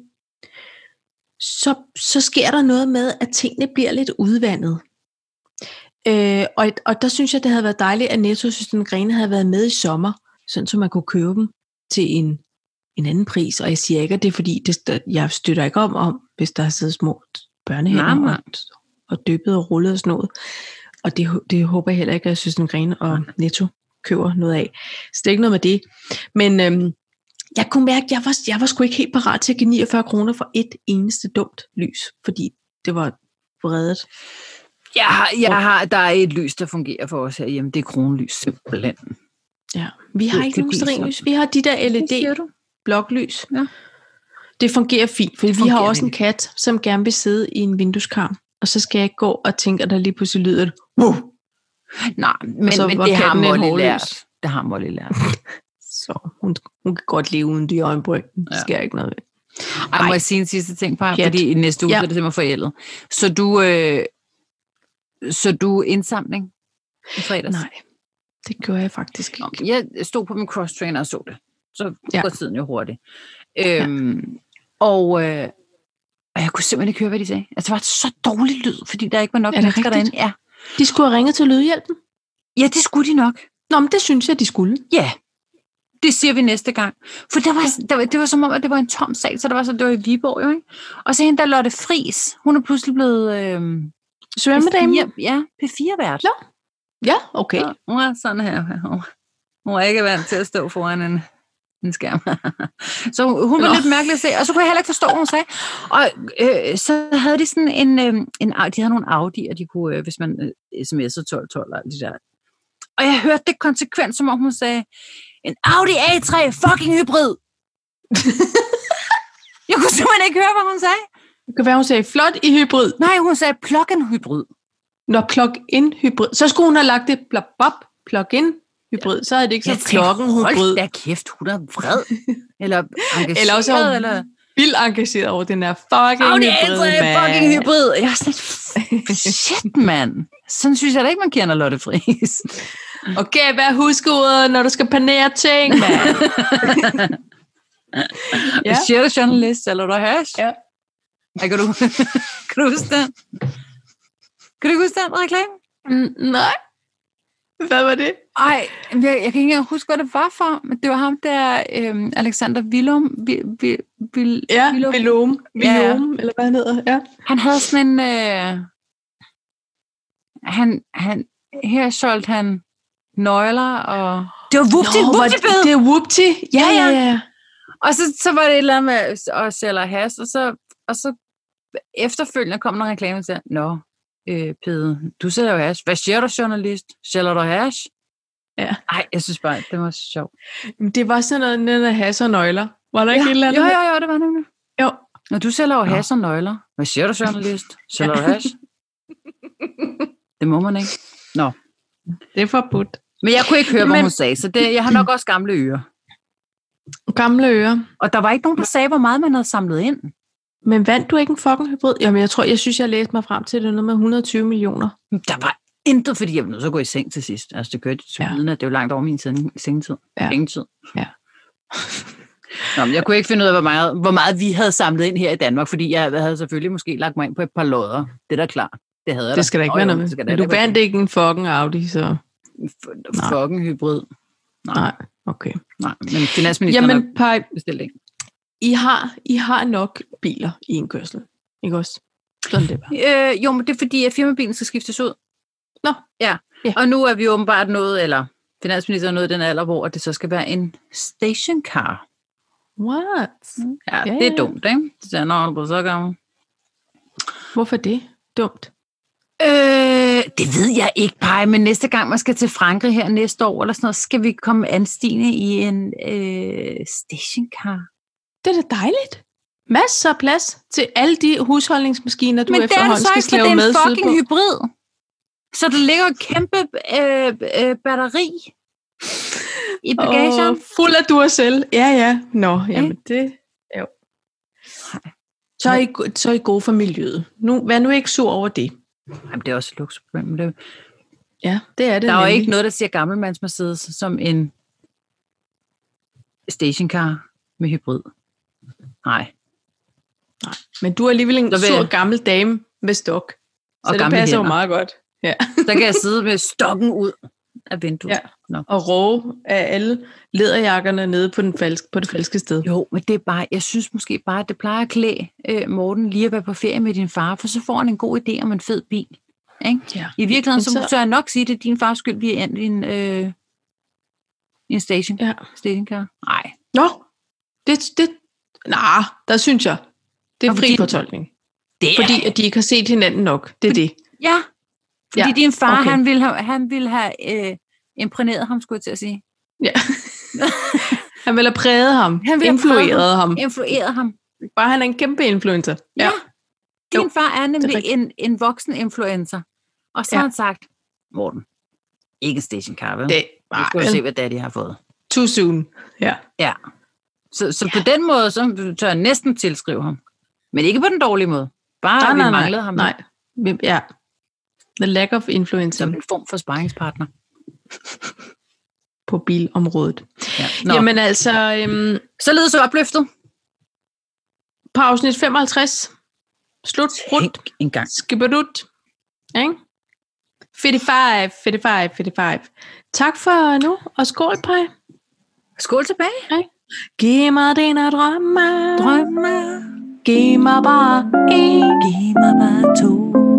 A: så, så sker der noget med, at tingene bliver lidt udvandet. Øh, og, og der synes jeg, det havde været dejligt, at netto søsterne grene havde været med i sommer, sådan så man kunne købe dem til en, en anden pris. Og jeg siger ikke, at det er fordi, det, der- jeg støtter ikke om, om hvis der har siddet små
B: Nej,
A: børnehænder
B: nej.
A: og, og dyppet og rullet og sådan noget. Og det, hå- det håber jeg heller ikke, at Søsten Grene og Netto køber noget af. Så det er ikke noget med det. Men øhm, jeg kunne mærke, at jeg var, jeg var sgu ikke helt parat til at give 49 kroner for et eneste dumt lys, fordi det var vredet.
B: Jeg har, jeg har, der er et lys, der fungerer for os herhjemme. Det er kronelys simpelthen.
A: Ja. Vi har
B: Det-
A: ikke
B: det
A: nogen
B: bliver
A: steringlys. Vi har de der LED
B: du?
A: bloklys.
B: Ja.
A: Det fungerer fint, for vi
B: fungerer
A: har også en
B: nemlig.
A: kat, som gerne vil sidde i en vindueskarm, og så skal jeg ikke gå og tænke, at der lige pludselig lyder et, wow!
B: Nej, men,
A: Og så
B: men
A: var
B: det har
A: katten et
B: Molly
A: hårlys.
B: lært. Det har Molly lært.
A: Så hun, hun kan godt leve uden de øjenbryn. Det
B: Ja.
A: sker ikke noget ved.
B: Ej, må
A: Nej.
B: jeg sige en sidste ting, par,
A: Pjat.
B: fordi i næste uge
A: Ja.
B: ja. er det simpelthen forældet. Så du, øh, så du indsamling i fredags?
A: Nej, det gjorde jeg faktisk ikke.
B: Nå, Jeg stod på min cross-trainer og så det. Så ja.
A: Ja.
B: går tiden jo hurtigt. Øhm, og, øh, og jeg kunne simpelthen ikke høre, hvad de sagde. Altså, det var så dårlig lyd, fordi der ikke var nok
A: Er det
B: mennesker
A: rigtigt?
B: derinde. Ja.
A: De skulle have ringet til lydhjælpen.
B: ja, det skulle de nok.
A: Nå, men det synes jeg, de skulle.
B: Ja, det siger vi næste gang. For der var, der, var- det var som om, at det var en tom sal, så der var så, det var i Viborg jo, ikke? Og så hende der Lotte Fris, hun er pludselig blevet... Øh,
A: Svømmedamen?
B: P4, ja, P4-vært.
A: Nå, Ja, okay.
B: Så Hun er sådan her. Hun- Hun er ikke vant til at stå foran en, en skærm. så hun hun var
A: Nå.
B: lidt mærkelig at se, og så kunne jeg heller ikke forstå, hvad hun sagde. Og øh, så havde de sådan en, øh, en... Au- De havde nogle Audi'er, de kunne, øh, hvis man øh, sms'ede 1212 og alt det der. Og jeg hørte det konsekvent, som om hun sagde, en Audi A3 fucking hybrid. jeg kunne simpelthen ikke høre, hvad hun sagde.
A: Det kan være, hun sagde, flot i hybrid.
B: Nej, hun sagde plug-in hybrid.
A: Når plug-in hybrid. Så skulle hun have lagt det blop, blop, plug-in hybrid. Så er det ikke så klokken hybrid.
B: Hold da kæft, hun er vred. Eller engageret.
A: Eller også er hun
B: eller...
A: vildt engageret over den her fucking
B: Audi
A: hybrid,
B: A3 er
A: mand.
B: fucking hybrid. Jeg er sådan lidt, "F- shit, mand. Sådan synes jeg da ikke, man kender Lotte Friis.
A: Okay, hvad husker ordet, når du skal panere ting, mand?
B: ja.
A: Ja.
B: Shit, journalist, eller du hash?
A: Ja.
B: Ej, kan, du, kan du huske den? Kan du ikke huske den reklame?
A: Mm, Nej. Hvad var det?
B: Ej, jeg, jeg kan ikke engang huske, hvad det var for, men det var ham der, øhm, Alexander Willum, vi, vi, vi,
A: Ja,
B: Villum.
A: Vilom.
B: Ja, ja.
A: Vilom, eller hvad han hedder. Ja.
B: Han havde sådan en... Øh, han, han, her solgte han nøgler og... Det var vupti,
A: Nå, hvor-
B: vupti
A: Det er Whoopty. Ja,
B: Ja,
A: ja,
B: ja.
A: ja.
B: Og så, så var det et eller andet med at sælge has, og så, og så efterfølgende kom der en reklame og sagde, Nå, øh, Pede, du sælger jo hash. Hvad siger du, journalist? Sælger du hash?
A: Ja.
B: Ej, jeg synes bare, det var sjovt.
A: Jamen, Det var sådan noget, den der has og nøgler. Var der ikke et eller
B: Jo,
A: andet?
B: jo, jo, det var nemlig.
A: Jo.
B: Når du sælger jo
A: Nå.
B: hash og nøgler. Hvad siger du, journalist? Sælger du hash? Det må man ikke.
A: Det er forbudt.
B: Men jeg kunne ikke høre, hvad
A: Men-
B: hun sagde, så det, jeg har nok også gamle ører.
A: Gamle ører.
B: Og der var ikke nogen, der sagde, hvor meget man havde samlet ind.
A: Men vandt du ikke en fucking hybrid? Jamen, jeg tror, jeg synes, jeg læste mig frem til, at det er noget med 120 millioner.
B: Men Der var intet, fordi jeg var nødt til at gå i seng til sidst. Altså, det kørte til
A: Ja.
B: ja. at det var langt over min seng- sengetid.
A: Ja.
B: Sengetid.
A: Ja.
B: Nå, men jeg kunne ikke finde ud af, hvor meget, hvor meget vi havde samlet ind her i Danmark, fordi jeg havde selvfølgelig måske lagt mig ind på et par lodder. Det er da klart. Det havde jeg
A: Det skal der
B: Nå,
A: ikke være
B: jo,
A: noget
B: det
A: med.
B: skal der
A: Men
B: da
A: du
B: ikke være.
A: vandt ikke en fucking Audi, så... Nej.
B: fucking hybrid.
A: Nej, okay.
B: Nej, men finansministeren Jamen,
A: Jamen, Paj,
B: har bestilt en.
A: I har, I har nok biler i en kørsel, ikke også? Sådan det bare.
B: Øh, jo, men det er fordi, at firmabilen skal skiftes ud.
A: Nå.
B: Ja.
A: Ja.
B: ja. Og nu er vi åbenbart nået, eller finansministeren er nået den alder, hvor det så skal være en stationcar.
A: What?
B: Ja,
A: Ja,
B: ja det
A: ja.
B: er dumt, ikke? Det er når på så gammel.
A: Hvorfor det? Dumt.
B: Øh, det ved jeg ikke, Paj, men næste gang man skal til Frankrig her næste år, eller sådan noget, skal vi komme anstigende i en øh, stationcar.
A: Det er da dejligt. Masser af plads til alle de husholdningsmaskiner, du
B: men det er det
A: efterhånden
B: så
A: skal
B: ikke, for
A: slæve
B: det er
A: med
B: en fucking
A: sydpå.
B: hybrid. Så der ligger et kæmpe øh, øh, batteri i bagagen.
A: Og fuld af Duracell. Ja, ja. Nå, jamen det... Jo. Så er, I, go- så er I gode for miljøet. Nu, vær nu ikke sur over det.
B: Oh. Jamen, det er også et luksusproblem. men det-
A: Ja, det er det
B: Der er jo
A: nemlig.
B: ikke noget, der siger gammelmands Mercedes som en stationcar med hybrid. Nej.
A: Men du er alligevel en
B: Så vil-
A: sur gammel dame med stok. Så
B: Og
A: det
B: gamle
A: passer jo
B: hænder.
A: meget godt. Ja.
B: Så kan jeg sidde med stokken ud af vinduet.
A: Ja. og råge af alle lederjakkerne nede på, den falske, på det falske sted.
B: Jo, men det er bare, jeg synes måske bare, at det plejer at klæde øh, Morten lige at være på ferie med din far, for så får han en god idé om en fed bil. Ikke?
A: Ja.
B: I
A: Men
B: virkeligheden, så,
A: så-
B: så tør jeg nok sige, at det er din fars skyld, vi er endt i en, øh, i en station.
A: Ja.
B: stationcar. Nej.
A: Nå, det, det, nej, der synes jeg, det er
B: Og
A: fri
B: fordi-
A: fortolkning.
B: Det er,
A: Fordi at de ikke har set hinanden nok. Det er det.
B: ja, fordi
A: Ja,
B: ja, din far,
A: okay.
B: okay. han ville have, han ville have øh, imprægneret ham, skulle jeg til at sige.
A: Ja. han vil have præget ham,
B: Han
A: han
B: vil have
A: influeret ham.
B: Influeret ham.
A: Bare han er en kæmpe influencer.
B: Ja. Din
A: Jo,
B: far er nemlig
A: rigtigt.
B: en, en voksen influencer. Og så
A: Ja.
B: har han sagt, Morten, ikke en stationcar, vel?
A: Det
B: Nu skal du se,
A: er
B: hvad daddy har fået.
A: too soon. Ja.
B: Så, så på den måde, så tør jeg næsten tilskrive ham. Men ikke på den dårlige måde. Bare nej, vi nej, manglede ham
A: nej. Hvem- Ja. The lack of influencer
B: som en form for sparringspartner.
A: på bilområdet.
B: Ja.
A: Nå. Jamen altså, øhm,
B: således opløftet.
A: på afsnit 55, slut, rundt,
B: Tænk en gang.
A: Skibadut. Ikke? 55, 55, 55. Tak for nu, og skål, Paj.
B: Skål tilbage.
A: Giv mig dine drømme.
B: Drømme.
A: Giv mig bare en.
B: Giv mig bare to.